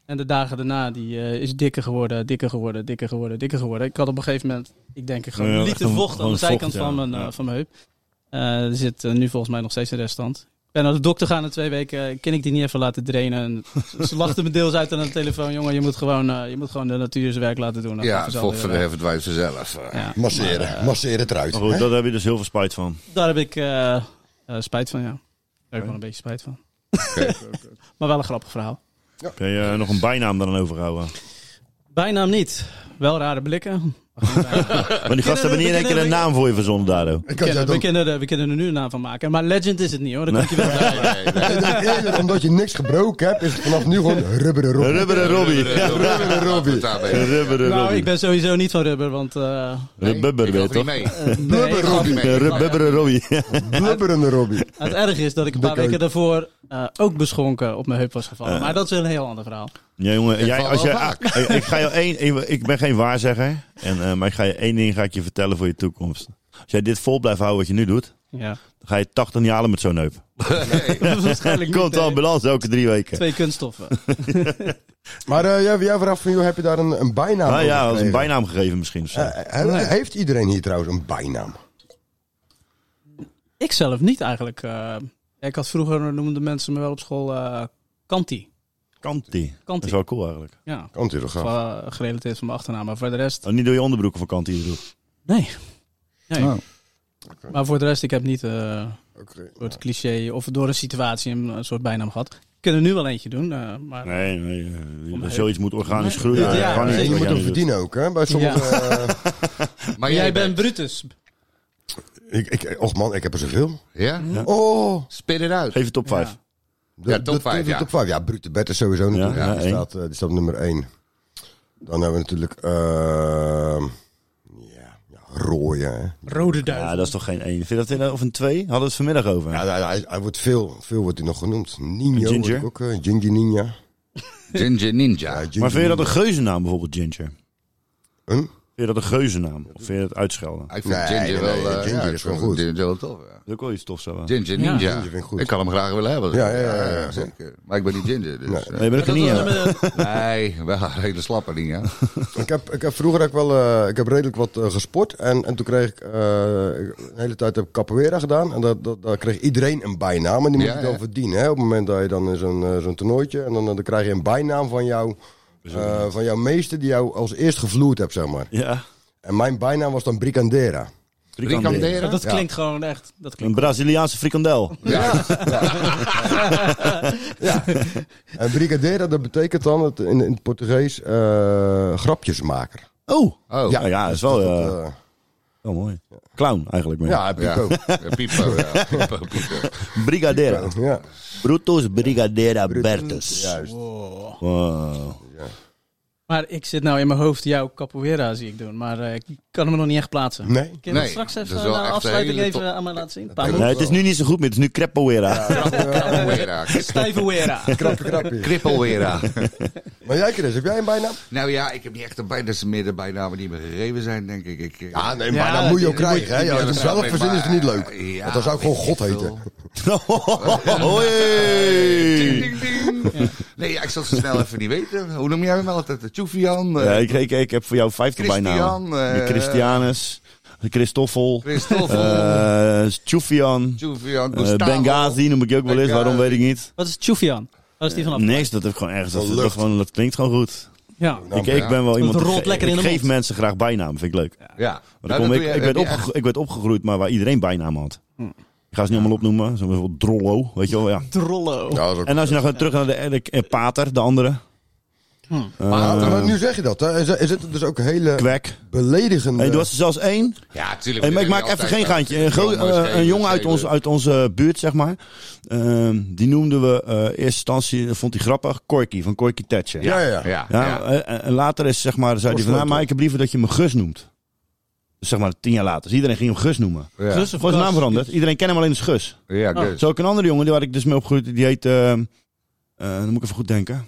Speaker 2: en de dagen daarna die, eh, is dikker geworden, dikker geworden, dikker geworden, dikker geworden. Ik had op een gegeven moment, ik denk, gewoon
Speaker 3: Ja,
Speaker 2: een
Speaker 3: echt
Speaker 2: liter
Speaker 3: een-
Speaker 2: vocht aan
Speaker 3: gewoon
Speaker 2: de
Speaker 3: vocht,
Speaker 2: zijkant van,
Speaker 3: ja.
Speaker 2: mijn, eh,
Speaker 3: Ja.
Speaker 2: van mijn heup. Eh, er zit eh, nu volgens mij nog steeds een restant. Ik ben naar de dokter gaan in twee weken. eh, Kan ik die niet even laten drainen? En ze- ze lachten me deels uit aan de telefoon. Jongen, je moet gewoon, eh, je moet gewoon de natuur zijn werk laten doen. Dan gaat
Speaker 5: Ja, het
Speaker 2: vanzelf
Speaker 5: volk
Speaker 2: weer
Speaker 5: van de
Speaker 2: weg.
Speaker 5: verdwijnt vanzelf.
Speaker 2: Ja.
Speaker 1: Masseren.
Speaker 2: Maar, eh,
Speaker 1: Masseren het eruit.
Speaker 3: Maar goed,
Speaker 1: hè?
Speaker 3: daar heb je dus heel veel spijt van.
Speaker 2: Daar heb ik eh, eh, spijt van, ja. Daar heb ik wel een beetje spijt van. maar wel een grappig verhaal.
Speaker 3: Heb je eh, nog een bijnaam dan overgehouden?
Speaker 2: Bijnaam niet. Wel rare blikken.
Speaker 3: Maar die gasten hebben niet in één keer
Speaker 2: kennen-
Speaker 3: een naam voor je verzonnen, Dado.
Speaker 1: Ik
Speaker 2: We
Speaker 1: had jou
Speaker 2: kunnen, we,
Speaker 1: dan-
Speaker 2: kunnen er, we kunnen er nu een naam van maken. Maar Legend is het niet hoor. Dat kan je wel zeggen.
Speaker 5: Nee, nee.
Speaker 1: Eerder, omdat je niks gebroken hebt, is het vanaf nu gewoon rubberen rob.
Speaker 3: Rubber
Speaker 5: Eh,
Speaker 3: en Robbie.
Speaker 5: Rubberen,
Speaker 1: Rubberen
Speaker 5: Robbie.
Speaker 1: Robbie.
Speaker 5: Daarmee.
Speaker 3: Rubber en
Speaker 2: Nou,
Speaker 3: Robbie.
Speaker 2: ik ben sowieso niet van rubber, want... eh,
Speaker 5: Nee,
Speaker 3: Rubber,
Speaker 5: ik
Speaker 3: weet
Speaker 5: loop
Speaker 3: je toch?
Speaker 5: niet mee.
Speaker 2: nee,
Speaker 5: Ik loop niet mee.
Speaker 3: Rubber en Robbie.
Speaker 1: Blubberende Robbie.
Speaker 2: het erg is dat ik een paar
Speaker 1: Dikke
Speaker 2: weken daarvoor eh, ook beschonken op mijn heup was gevallen. Maar dat is een heel ander verhaal.
Speaker 3: Ja, jongen,
Speaker 5: Dat
Speaker 3: jij,
Speaker 5: valt
Speaker 3: als
Speaker 5: wel
Speaker 3: jij,
Speaker 5: vaak.
Speaker 3: ik, ik ga jou één, ik- ik ben geen waarzegger, en, eh, maar ik ga je één ding ga ik je vertellen voor je toekomst. Als jij dit vol blijft houden wat je nu doet,
Speaker 2: Ja.
Speaker 3: dan ga je 80 niet halen met zo'n neup.
Speaker 5: Nee.
Speaker 2: Waarschijnlijk niet.
Speaker 3: Komt de
Speaker 2: nee.
Speaker 3: ambulance elke drie weken.
Speaker 2: Twee kunststoffen.
Speaker 1: Maar eh, jij, jij vraagt van, joh, heb je daar een, een bijnaam
Speaker 2: Ah,
Speaker 3: Nou
Speaker 1: over
Speaker 3: ja, dat is een
Speaker 1: gekregen?
Speaker 3: bijnaam gegeven misschien. of zo.
Speaker 1: Eh, he- Heeft iedereen hier trouwens een bijnaam?
Speaker 2: Ik zelf niet eigenlijk. eh. ik had vroeger, noemden mensen me wel op school, eh Kanti.
Speaker 3: Kanti. Dat
Speaker 2: Kanti.
Speaker 3: is wel cool eigenlijk.
Speaker 2: Ja,
Speaker 1: Kan het toch
Speaker 2: dat is
Speaker 1: gaaf?
Speaker 2: wel eh, gerelateerd van mijn achternaam. Maar voor de rest,
Speaker 3: Oh, niet door je onderbroeken van Kanti droeg.
Speaker 2: nee. nee.
Speaker 5: Oh.
Speaker 2: Maar voor de rest, ik heb niet eh, een
Speaker 1: Oké.
Speaker 2: soort cliché of door een situatie een, een soort bijnaam gehad. Ik kan er nu wel eentje doen, eh, maar
Speaker 3: Nee, nee. eh,
Speaker 2: Om-
Speaker 3: Zoiets moet organisch groeien.
Speaker 2: Ja, ja,
Speaker 3: Organisch
Speaker 1: En
Speaker 3: is
Speaker 1: je
Speaker 3: wat
Speaker 1: moet
Speaker 3: jij
Speaker 1: hem
Speaker 3: nu doet.
Speaker 1: verdienen ook, hè? Bij sommige... eh,
Speaker 5: Maar
Speaker 2: jij bent Brutus.
Speaker 1: ik, ik, och man, ik heb er zoveel.
Speaker 5: Ja?
Speaker 1: Oh!
Speaker 5: Spit het uit.
Speaker 3: Geef het top 5.
Speaker 1: De,
Speaker 5: Ja, top
Speaker 1: de-
Speaker 5: vijf,
Speaker 1: de
Speaker 5: ja.
Speaker 1: top vijf. Ja, Brute Bert is sowieso natuurlijk.
Speaker 3: Ja,
Speaker 1: Ja,
Speaker 3: ja,
Speaker 1: die,
Speaker 3: één.
Speaker 1: staat, eh, die staat op nummer 1. Dan hebben we natuurlijk... ehm ja, ja, Rooien, hè?
Speaker 2: Rode duivel.
Speaker 3: Ja, dat is toch geen 1. Vind je dat in, of een 2? Hadden we het vanmiddag over.
Speaker 1: Ja, hij, hij- hij wordt veel, veel wordt hij nog genoemd. Nino
Speaker 3: Ginger?
Speaker 1: wordt ook, eh, Ginger Ninja.
Speaker 5: Ginger
Speaker 1: Ja,
Speaker 5: Ninja.
Speaker 1: Ginger
Speaker 3: maar vind je dat
Speaker 1: Ninja.
Speaker 3: een geuzennaam bijvoorbeeld, Ginger?
Speaker 1: Hm?
Speaker 3: Vind je dat een geuzennaam? Of vind je dat uitschelden?
Speaker 5: Ik vind
Speaker 1: Nee, nee,
Speaker 5: Ginger wel...
Speaker 1: nee,
Speaker 5: eh,
Speaker 1: Ginger
Speaker 5: ja,
Speaker 1: is
Speaker 5: ik
Speaker 1: gewoon
Speaker 5: vind
Speaker 1: goed.
Speaker 5: Ginger wel tof, ja.
Speaker 3: Dat is ook wel iets tofs. Zo. Nee,
Speaker 5: Ginger
Speaker 2: Ja.
Speaker 5: Ninja.
Speaker 1: Ginger vind ik goed.
Speaker 5: Ik kan hem graag willen hebben.
Speaker 1: Ja, ja, ja, ja.
Speaker 5: zeker. Maar ik ben niet Ginger, dus... eh,
Speaker 3: ben ik er niet. hè?
Speaker 5: Nee, wel een hele slappe Ninja.
Speaker 1: Ik heb, ik heb vroeger ook wel, eh, ik heb redelijk wat eh, gesport. En, en toen kreeg ik, eh, ik- een hele tijd heb ik capoeira gedaan. En dat, dat, daar kreeg iedereen een bijnaam. En die moet
Speaker 5: Ja,
Speaker 1: je dan
Speaker 5: ja.
Speaker 1: verdienen. Hè? Op het moment dat je dan in zo'n eh, zo'n toernooitje. En dan, eh, dan krijg je een bijnaam van, jou, eh, van jouw meester die jou als eerst gevloerd hebt, zeg maar.
Speaker 3: Ja.
Speaker 1: En mijn bijnaam was dan Bricandera.
Speaker 3: Frikandel.
Speaker 5: Frikanderen?
Speaker 2: dat
Speaker 1: Ja.
Speaker 2: klinkt gewoon echt. Dat
Speaker 3: Een
Speaker 2: klinkt.
Speaker 3: Braziliaanse frikandel.
Speaker 5: Ja.
Speaker 1: En Bricandera, dat betekent dan het, in, in het Portugees eh, grapjesmaker.
Speaker 3: Oh!
Speaker 5: Oh,
Speaker 3: Ja, ja, dat is wel,
Speaker 1: Dat,
Speaker 3: eh,
Speaker 1: eh,
Speaker 3: wel mooi. Clown eigenlijk. meer.
Speaker 1: ja, heb ik
Speaker 5: Ja.
Speaker 1: ook.
Speaker 5: Pipo, ja. Pipo, Pipo.
Speaker 3: Brigadera.
Speaker 1: Ja,
Speaker 3: Brutus Brigadera Bertus.
Speaker 1: juist.
Speaker 2: Wow.
Speaker 3: Wow.
Speaker 2: Oh. Maar ik zit nou in mijn hoofd jouw capoeira zie ik doen, maar eh, ik kan hem nog niet echt plaatsen.
Speaker 1: Nee.
Speaker 2: Kun je
Speaker 5: Nee,
Speaker 2: dat straks
Speaker 5: dat is
Speaker 2: even eh,
Speaker 5: wel
Speaker 2: na
Speaker 5: echt een
Speaker 2: afsluiting
Speaker 5: hele
Speaker 2: even
Speaker 5: top-
Speaker 2: aan mij laten zien? Een
Speaker 1: Ja,
Speaker 2: paar
Speaker 3: Nee, het is nu niet zo goed meer. Het is nu Crepowera.
Speaker 5: Krappelwera.
Speaker 2: Stijverwera.
Speaker 1: Krappe, krappe.
Speaker 5: Krippelwera.
Speaker 1: Maar jij, Chris, heb jij een bijnaam?
Speaker 5: Nou ja, ik heb niet echt een bijna, dat zijn meer de bijnamen die me gegeven zijn, denk ik. ik eh,
Speaker 1: Ja, nee,
Speaker 2: Ja,
Speaker 1: maar dat moet je ook
Speaker 2: die
Speaker 1: krijgen. hè? Ja,
Speaker 5: die-
Speaker 1: als je
Speaker 5: die-
Speaker 1: het zelf
Speaker 5: die-
Speaker 1: verzinnen is het niet leuk.
Speaker 5: eh, Ja,
Speaker 1: Want dan zou ik gewoon God heten.
Speaker 3: Oh,
Speaker 5: Ding,
Speaker 3: Hoi!
Speaker 5: ding, ding. Nee, ja, ik zal ze snel even niet weten. Hoe noem jij hem altijd? Tjoefian? eh,
Speaker 3: Ja, ik, ik, ik heb voor jou 50
Speaker 5: Christian,
Speaker 3: bijnamen.
Speaker 5: eh,
Speaker 3: De Christianus, de Christoffel,
Speaker 5: Christoffel?
Speaker 3: eh Tjufian,
Speaker 5: Tjoefian,
Speaker 3: eh,
Speaker 5: Gustavo.
Speaker 3: Benghazi noem ik je ook wel eens.
Speaker 5: Benghazi.
Speaker 3: Waarom weet ik niet.
Speaker 2: Wat is Tjufian? Wat is die vanaf?
Speaker 3: Niks, dat heb ik gewoon ergens. Dat,
Speaker 1: Van
Speaker 3: dat,
Speaker 1: lucht.
Speaker 3: gewoon, dat klinkt gewoon goed.
Speaker 2: Ja.
Speaker 3: ik, ik
Speaker 5: ja.
Speaker 3: ben wel iemand. die
Speaker 2: rolt
Speaker 3: ge-
Speaker 2: lekker in
Speaker 3: ik
Speaker 2: de
Speaker 3: geef
Speaker 2: mond.
Speaker 3: mensen graag bijnaam, vind ik leuk.
Speaker 5: Ja.
Speaker 3: Maar
Speaker 5: Nou,
Speaker 3: dan kom
Speaker 5: dat
Speaker 3: ik,
Speaker 5: doe je-
Speaker 3: ik, werd
Speaker 5: heb je echt- Hm.
Speaker 3: opge- ik werd opgegroeid, maar waar iedereen bijnaam had. Ik ga ze niet allemaal opnoemen. Zo bijvoorbeeld Drollo, weet je wel. Ja.
Speaker 2: Drollo.
Speaker 1: Ja, dat is ook-
Speaker 3: En als je nou gewoon terug naar de, de, eh, Pater, de andere. Eh,
Speaker 1: maar, maar nu zeg je dat. Hè? Er zi- er zitten dus ook hele
Speaker 3: Kwek.
Speaker 1: beledigende...
Speaker 3: Hey, er was er zelfs één.
Speaker 5: Ja, tuurlijk.
Speaker 3: Hey, maar ik
Speaker 5: dat
Speaker 3: maak
Speaker 5: heb je
Speaker 3: even geen
Speaker 5: altijd,
Speaker 3: gaantje. Een,
Speaker 5: maar-
Speaker 3: go-
Speaker 5: Ja, maar
Speaker 3: eh, een jongen uit,
Speaker 5: zeker.
Speaker 3: ons, uit onze buurt, zeg maar. Ehm, die noemden we eh eerste instantie, dat vond hij grappig, Korky van Korky Thatcher.
Speaker 1: Ja, ja. ja.
Speaker 5: Ja,
Speaker 3: Ja,
Speaker 5: ja.
Speaker 3: eh, En, later is zeg maar, zei hij van, nou, maar ik heb liever dat je me Gus noemt. Dus zeg maar tien jaar later. Dus iedereen ging hem Gus noemen.
Speaker 5: Ja,
Speaker 2: Zus of
Speaker 3: Gewoon zijn naam
Speaker 2: Kas?
Speaker 3: veranderd. Iedereen kent hem alleen als Gus.
Speaker 5: ja,
Speaker 2: Oh.
Speaker 5: dus.
Speaker 3: Zo ook een andere jongen, die waar ik dus mee opgegroeid, die heet, ehm eh, dan moet ik even goed denken.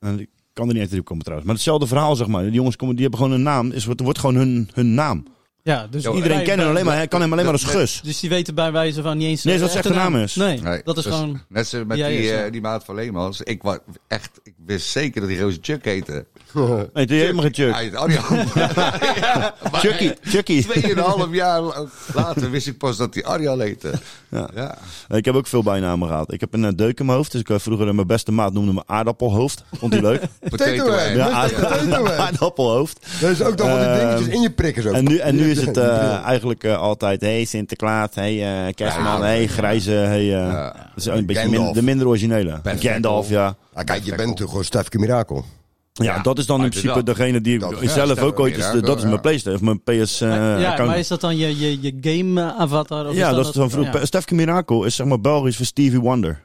Speaker 3: Eh, ik kan er niet uit de hoek komen trouwens. Maar hetzelfde verhaal zeg maar. Die jongens komen, die hebben gewoon een naam. Is, het wordt gewoon hun, hun naam.
Speaker 2: Ja, dus
Speaker 5: Yo,
Speaker 3: Iedereen
Speaker 2: wij-
Speaker 3: kent hem alleen maar, hij kan hem alleen maar als Gus.
Speaker 2: Dus die weten bij wijze van niet eens...
Speaker 3: Nee, is wat
Speaker 2: eh,
Speaker 3: zijn
Speaker 2: echte
Speaker 3: echte naam is.
Speaker 2: Nee,
Speaker 5: Nee, dus
Speaker 2: dat is gewoon...
Speaker 5: Net zo met
Speaker 2: Ja,
Speaker 5: die,
Speaker 2: ja,
Speaker 5: eh,
Speaker 2: zo.
Speaker 5: die maat van Leemans. Ik, was echt, ik wist zeker dat die roze Chuck heette.
Speaker 3: Nee, die heet helemaal geen Chuck.
Speaker 5: Hij heet Arjan. ja, maar
Speaker 3: Chucky, Chucky.
Speaker 5: Tweeënhalf jaar la- later wist ik pas dat die Arjan heette. Ja. ja.
Speaker 3: Ik heb ook veel bijnamen gehad. Ik heb een eh, deuk in mijn hoofd. Dus ik eh, vroeger eh, mijn beste maat noemde me aardappelhoofd. Vond hij leuk?
Speaker 1: Head.
Speaker 5: Potato Head.
Speaker 1: Mr. Potato Head.
Speaker 3: aardappelhoofd.
Speaker 1: Dat is ook dan van die dingetjes
Speaker 3: Ehm,
Speaker 1: in je prikken zo.
Speaker 3: En nu, en nu is het eh,
Speaker 1: Ja.
Speaker 3: eigenlijk eh, altijd, hey Sinterklaas, hey eh Kerstman,
Speaker 5: Ja.
Speaker 3: hey Grijze, hey, eh, dat is een beetje
Speaker 1: Gandalf.
Speaker 3: min- de minder originele.
Speaker 5: Perfect.
Speaker 3: Gandalf, ja.
Speaker 1: Ah, kijk, je bent natuurlijk gewoon Stefke Mirakel.
Speaker 3: ja.
Speaker 5: Ja,
Speaker 3: dat is dan in
Speaker 5: maar
Speaker 3: principe
Speaker 5: dat-
Speaker 3: degene die ik
Speaker 5: dat- ja,
Speaker 3: zelf
Speaker 5: Stefan
Speaker 3: ook ooit, is, eh,
Speaker 5: Mirakel,
Speaker 3: dat is
Speaker 5: ja.
Speaker 3: mijn Playstation, of mijn PS eh,
Speaker 2: ja,
Speaker 3: account.
Speaker 2: maar is dat dan je, je, eh, je game-avatar?
Speaker 3: ja, dat is dan vroeg.
Speaker 2: Ja.
Speaker 3: Stefke Mirakel is zeg maar Belgisch voor Stevie Wonder.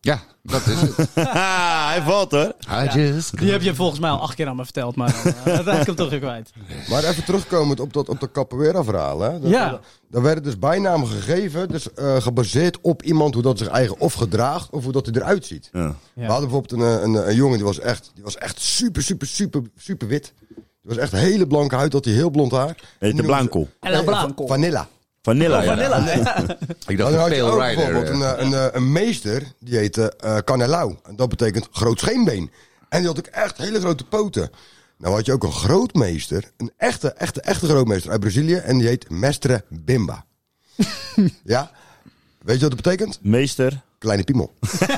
Speaker 5: Ja, dat is het.
Speaker 3: Ah, Hij valt hoor.
Speaker 5: I just
Speaker 2: Die heb je volgens mij al acht keer aan me verteld, maar eh, uiteindelijk komt toch weer kwijt.
Speaker 1: Maar even terugkomend op dat, op dat capoeira verhaal. Hè? Dat,
Speaker 2: Ja.
Speaker 1: Daar werden dus bijnamen gegeven. Dus eh, gebaseerd op iemand hoe dat zich eigen of gedraagt. Of hoe dat hij eruit ziet.
Speaker 3: Ja.
Speaker 2: Ja.
Speaker 1: We hadden bijvoorbeeld een, eh, een, eh, een jongen die was, echt, die was echt super, super, super, super wit. Die was echt hele blanke huid, had hij heel blond haar. En die
Speaker 3: Heet de
Speaker 1: noemden ze-
Speaker 3: Blanco.
Speaker 2: En
Speaker 1: Nee,
Speaker 2: dan Blanco.
Speaker 1: va- Vanilla.
Speaker 3: Oh, Vanilla. Nou ja.
Speaker 2: Vanilla.
Speaker 5: Ik
Speaker 1: Dan
Speaker 5: dacht
Speaker 1: had
Speaker 5: een
Speaker 1: je ook
Speaker 5: pale rider.
Speaker 1: bijvoorbeeld een,
Speaker 5: eh.
Speaker 1: eh, een, eh, een meester, die heette eh Canelau. En dat betekent groot scheenbeen. En die had ook echt hele grote poten. Nou had je ook een grootmeester, een echte, echte, echte grootmeester uit Brazilië. En die heet Mestre Bimba. ja, weet je wat dat betekent?
Speaker 3: Meester.
Speaker 1: Kleine piemel.
Speaker 3: Ah,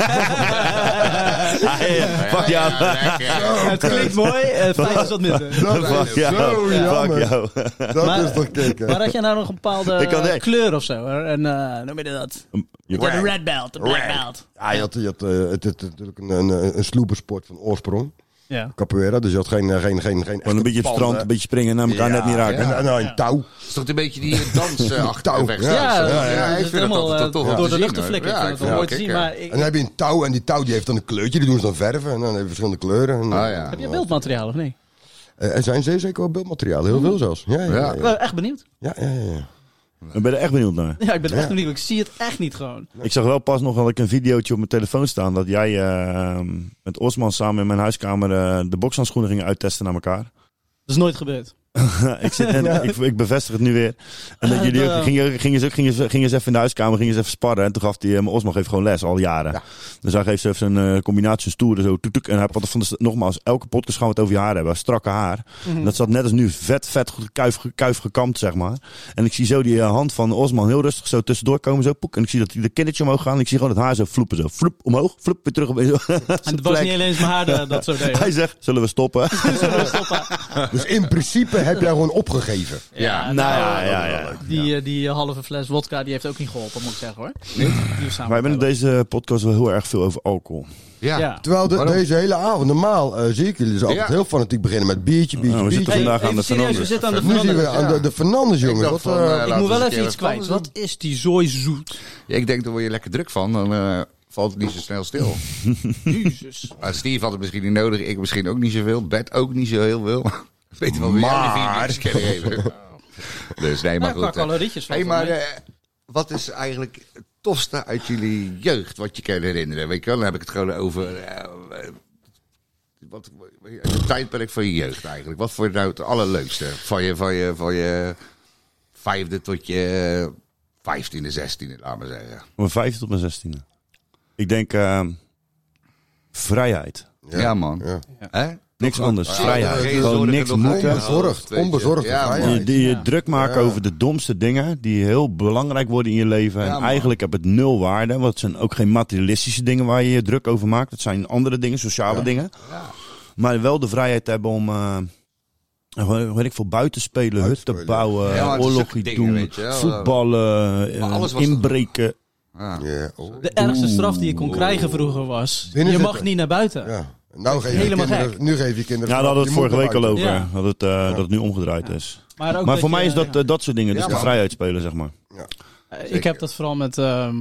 Speaker 5: Nou
Speaker 3: ja. Fuck jou.
Speaker 5: lekker.
Speaker 2: Het klinkt mooi, eh, fijn is wat minder.
Speaker 3: Fuck jou. Fuck jou.
Speaker 1: Dat
Speaker 2: Maar-
Speaker 1: is toch kicken.
Speaker 2: Maar had jij nou nog een bepaalde
Speaker 3: Ik kan- nee.
Speaker 2: kleur of zo? hè? En, eh noem je dat?
Speaker 3: Je-
Speaker 2: De red belt, de black belt.
Speaker 1: Ja, je had, je had, eh, het, het- het- natuurlijk een, een, een sloepensport van oorsprong.
Speaker 2: Ja.
Speaker 1: Capoeira, dus je had geen... eh, geen, geen, geen
Speaker 3: Gewoon een beetje op het strand, een beetje springen en elkaar
Speaker 5: Ja,
Speaker 3: net niet raken.
Speaker 1: En, en, en
Speaker 2: Ja.
Speaker 1: een touw.
Speaker 5: Het is toch een beetje die dans eh, achter
Speaker 1: touw.
Speaker 5: de weg.
Speaker 1: Ja,
Speaker 2: Ja,
Speaker 5: zo.
Speaker 2: dat is
Speaker 5: ik vind dat
Speaker 2: helemaal,
Speaker 5: altijd
Speaker 2: eh,
Speaker 5: dat toch wel
Speaker 2: door
Speaker 5: te
Speaker 2: de
Speaker 5: zien,
Speaker 2: lucht te
Speaker 5: hoor.
Speaker 2: flikken.
Speaker 5: Ja,
Speaker 2: ik
Speaker 5: ik
Speaker 2: vind dat
Speaker 5: vind
Speaker 2: mooi te
Speaker 5: het
Speaker 2: zien,
Speaker 5: wel
Speaker 2: maar
Speaker 5: kicken.
Speaker 2: ik-
Speaker 1: En dan heb je een touw en die touw die heeft dan een kleurtje. Die doen ze dan verven en dan heb je verschillende kleuren. En,
Speaker 5: Ah, ja.
Speaker 2: heb je beeldmateriaal of nee?
Speaker 1: Eh, Er zijn zeer zeker wel beeldmateriaal. Heel veel zelfs. Ja, ja, ja.
Speaker 2: Ik
Speaker 1: ja.
Speaker 2: ben echt benieuwd.
Speaker 1: ja, ja, ja.
Speaker 3: Ik ben er echt benieuwd naar.
Speaker 2: Ja, ik ben echt
Speaker 1: Ja.
Speaker 2: benieuwd. Ik zie het echt niet gewoon.
Speaker 3: Ik zag wel pas nog wel ik een videootje op mijn telefoon staan dat jij eh, met Osman samen in mijn huiskamer eh, de bokshandschoenen ging uittesten naar elkaar.
Speaker 2: Dat is nooit gebeurd.
Speaker 3: ik, zit net- ik, ik bevestig het nu weer. En dat
Speaker 2: Ah,
Speaker 3: jullie
Speaker 2: damn.
Speaker 3: ook, gingen, gingen, ze ook- gingen, ze- gingen ze even in de huiskamer, gingen ze even sparren. En toen gaf die, eh, mijn Osman geeft gewoon les, al jaren. Dus hij geeft ze even een eh, combinatie, een stoere zo. Toetuk, en hij had van de, st- nogmaals, elke podcast gaan we het over je haar hebben. Strakke haar. En dat zat net als nu vet, vet goed kuif, kuif gekamd, zeg maar. En ik zie zo die eh, hand van Osman heel rustig zo tussendoor komen, zo poek. En ik zie dat die de kindertje omhoog gaan. En ik zie gewoon het haar zo floepen, zo floep omhoog, floep weer terug op.
Speaker 2: En het was niet alleen eens mijn haar eh, dat zo deed.
Speaker 3: Hij zegt, zullen we stoppen?
Speaker 1: Dus in principe heb jij gewoon opgegeven.
Speaker 5: Ja.
Speaker 3: nou ja, ja, ja.
Speaker 2: Die, eh, die halve fles wodka die heeft ook niet geholpen, moet ik zeggen hoor. Die we samen
Speaker 3: Wij hebben in
Speaker 2: hebben.
Speaker 3: deze podcast wel heel erg veel over alcohol.
Speaker 5: Ja.
Speaker 2: Ja.
Speaker 1: Terwijl de-
Speaker 5: Waarom?
Speaker 1: deze hele avond, normaal eh, zie ik jullie dus altijd
Speaker 5: Ja.
Speaker 1: heel fanatiek beginnen met biertje, biertje,
Speaker 3: Nou, we zitten
Speaker 1: biertje.
Speaker 3: vandaag
Speaker 2: Hey,
Speaker 3: aan de
Speaker 2: even serieus, we
Speaker 3: Fernandes.
Speaker 2: zitten aan de
Speaker 1: Nu zien we
Speaker 2: verandering.
Speaker 1: aan de, de Fernandes,
Speaker 5: Ik
Speaker 1: jongens.
Speaker 5: dacht
Speaker 1: Wat,
Speaker 5: van,
Speaker 1: eh,
Speaker 5: eh,
Speaker 2: Ik
Speaker 5: laten
Speaker 2: moet
Speaker 5: we
Speaker 2: wel
Speaker 5: eens een
Speaker 2: even
Speaker 5: keer wat
Speaker 2: iets kwijt.
Speaker 5: anders
Speaker 2: Wat is die zooi zoet?
Speaker 5: Ja, ik denk, daar word je lekker druk van. Dan eh, valt het niet zo snel stil.
Speaker 2: Jezus.
Speaker 5: Maar Steve had het misschien niet nodig. Ik misschien ook niet zoveel. Bert ook niet zo heel veel. Weet je wel, wie
Speaker 1: Maar-
Speaker 5: die vier niks kennen even. Dus nee, maar
Speaker 2: Maar qua
Speaker 5: goed. eh.
Speaker 2: calorietjes valt
Speaker 5: Hey,
Speaker 2: wel
Speaker 5: maar
Speaker 2: mee.
Speaker 5: eh, wat is eigenlijk het tofste uit jullie jeugd wat je kan herinneren? Weet je wel, dan heb ik het gewoon over eh, eh, wat, het tijdperk van je jeugd eigenlijk. Wat vond je nou het allerleukste? Van je, van je, van je vijfde tot je vijftiende, zestiende, laat maar zeggen.
Speaker 3: Mijn vijfde tot mijn zestiende. Ik denk ehm, vrijheid.
Speaker 5: eh, Ja, man.
Speaker 1: ja.
Speaker 5: Hè?
Speaker 3: Niks anders. Vrijheid.
Speaker 5: Geen
Speaker 3: Gewoon
Speaker 5: zorgen,
Speaker 3: niks
Speaker 5: nog
Speaker 3: moeten.
Speaker 5: geen hoofd,
Speaker 1: Onbezorgd,
Speaker 5: weet je.
Speaker 1: onbezorgd.
Speaker 5: Ja, man.
Speaker 3: Je, die je
Speaker 2: Ja.
Speaker 3: druk maken
Speaker 1: Ja.
Speaker 3: over de domste dingen die heel belangrijk worden in je leven.
Speaker 5: Ja,
Speaker 3: en
Speaker 5: man.
Speaker 3: eigenlijk heb het nul waarde. Want het zijn ook geen materialistische dingen waar je je druk over maakt. Het zijn andere dingen, sociale dingen.
Speaker 5: Ja.
Speaker 3: Maar wel de vrijheid te hebben om, eh, gewoon, weet ik veel, buiten spelen, hut te
Speaker 1: Uitspelen.
Speaker 3: bouwen,
Speaker 5: Ja, maar het is
Speaker 3: oorlogje
Speaker 5: zulke dingen,
Speaker 3: doen,
Speaker 5: weet je wel.
Speaker 3: voetballen, eh,
Speaker 5: Maar alles was-
Speaker 3: inbreken.
Speaker 5: Ja.
Speaker 1: Ja, oh.
Speaker 2: De ergste straf die je kon krijgen vroeger was...
Speaker 1: Binnen
Speaker 2: je mag
Speaker 1: zitten.
Speaker 2: niet naar buiten.
Speaker 1: Ja. Nou geef je
Speaker 2: Helemaal
Speaker 1: kinderen,
Speaker 2: gek.
Speaker 1: nu geef je kinderen...
Speaker 3: Ja, daar hadden we het
Speaker 1: je moet
Speaker 3: vorige week al
Speaker 1: naar
Speaker 3: over.
Speaker 2: Ja.
Speaker 3: Dat, het, eh, dat het nu omgedraaid is.
Speaker 2: Maar, ook
Speaker 3: Maar voor
Speaker 2: je-
Speaker 3: mij is dat,
Speaker 2: ja.
Speaker 3: eh, dat soort dingen. Dus
Speaker 5: Ja,
Speaker 3: de
Speaker 5: man.
Speaker 3: vrijheid spelen, zeg maar.
Speaker 2: Eh, Ik
Speaker 5: Zeker.
Speaker 2: heb dat vooral met... ehm,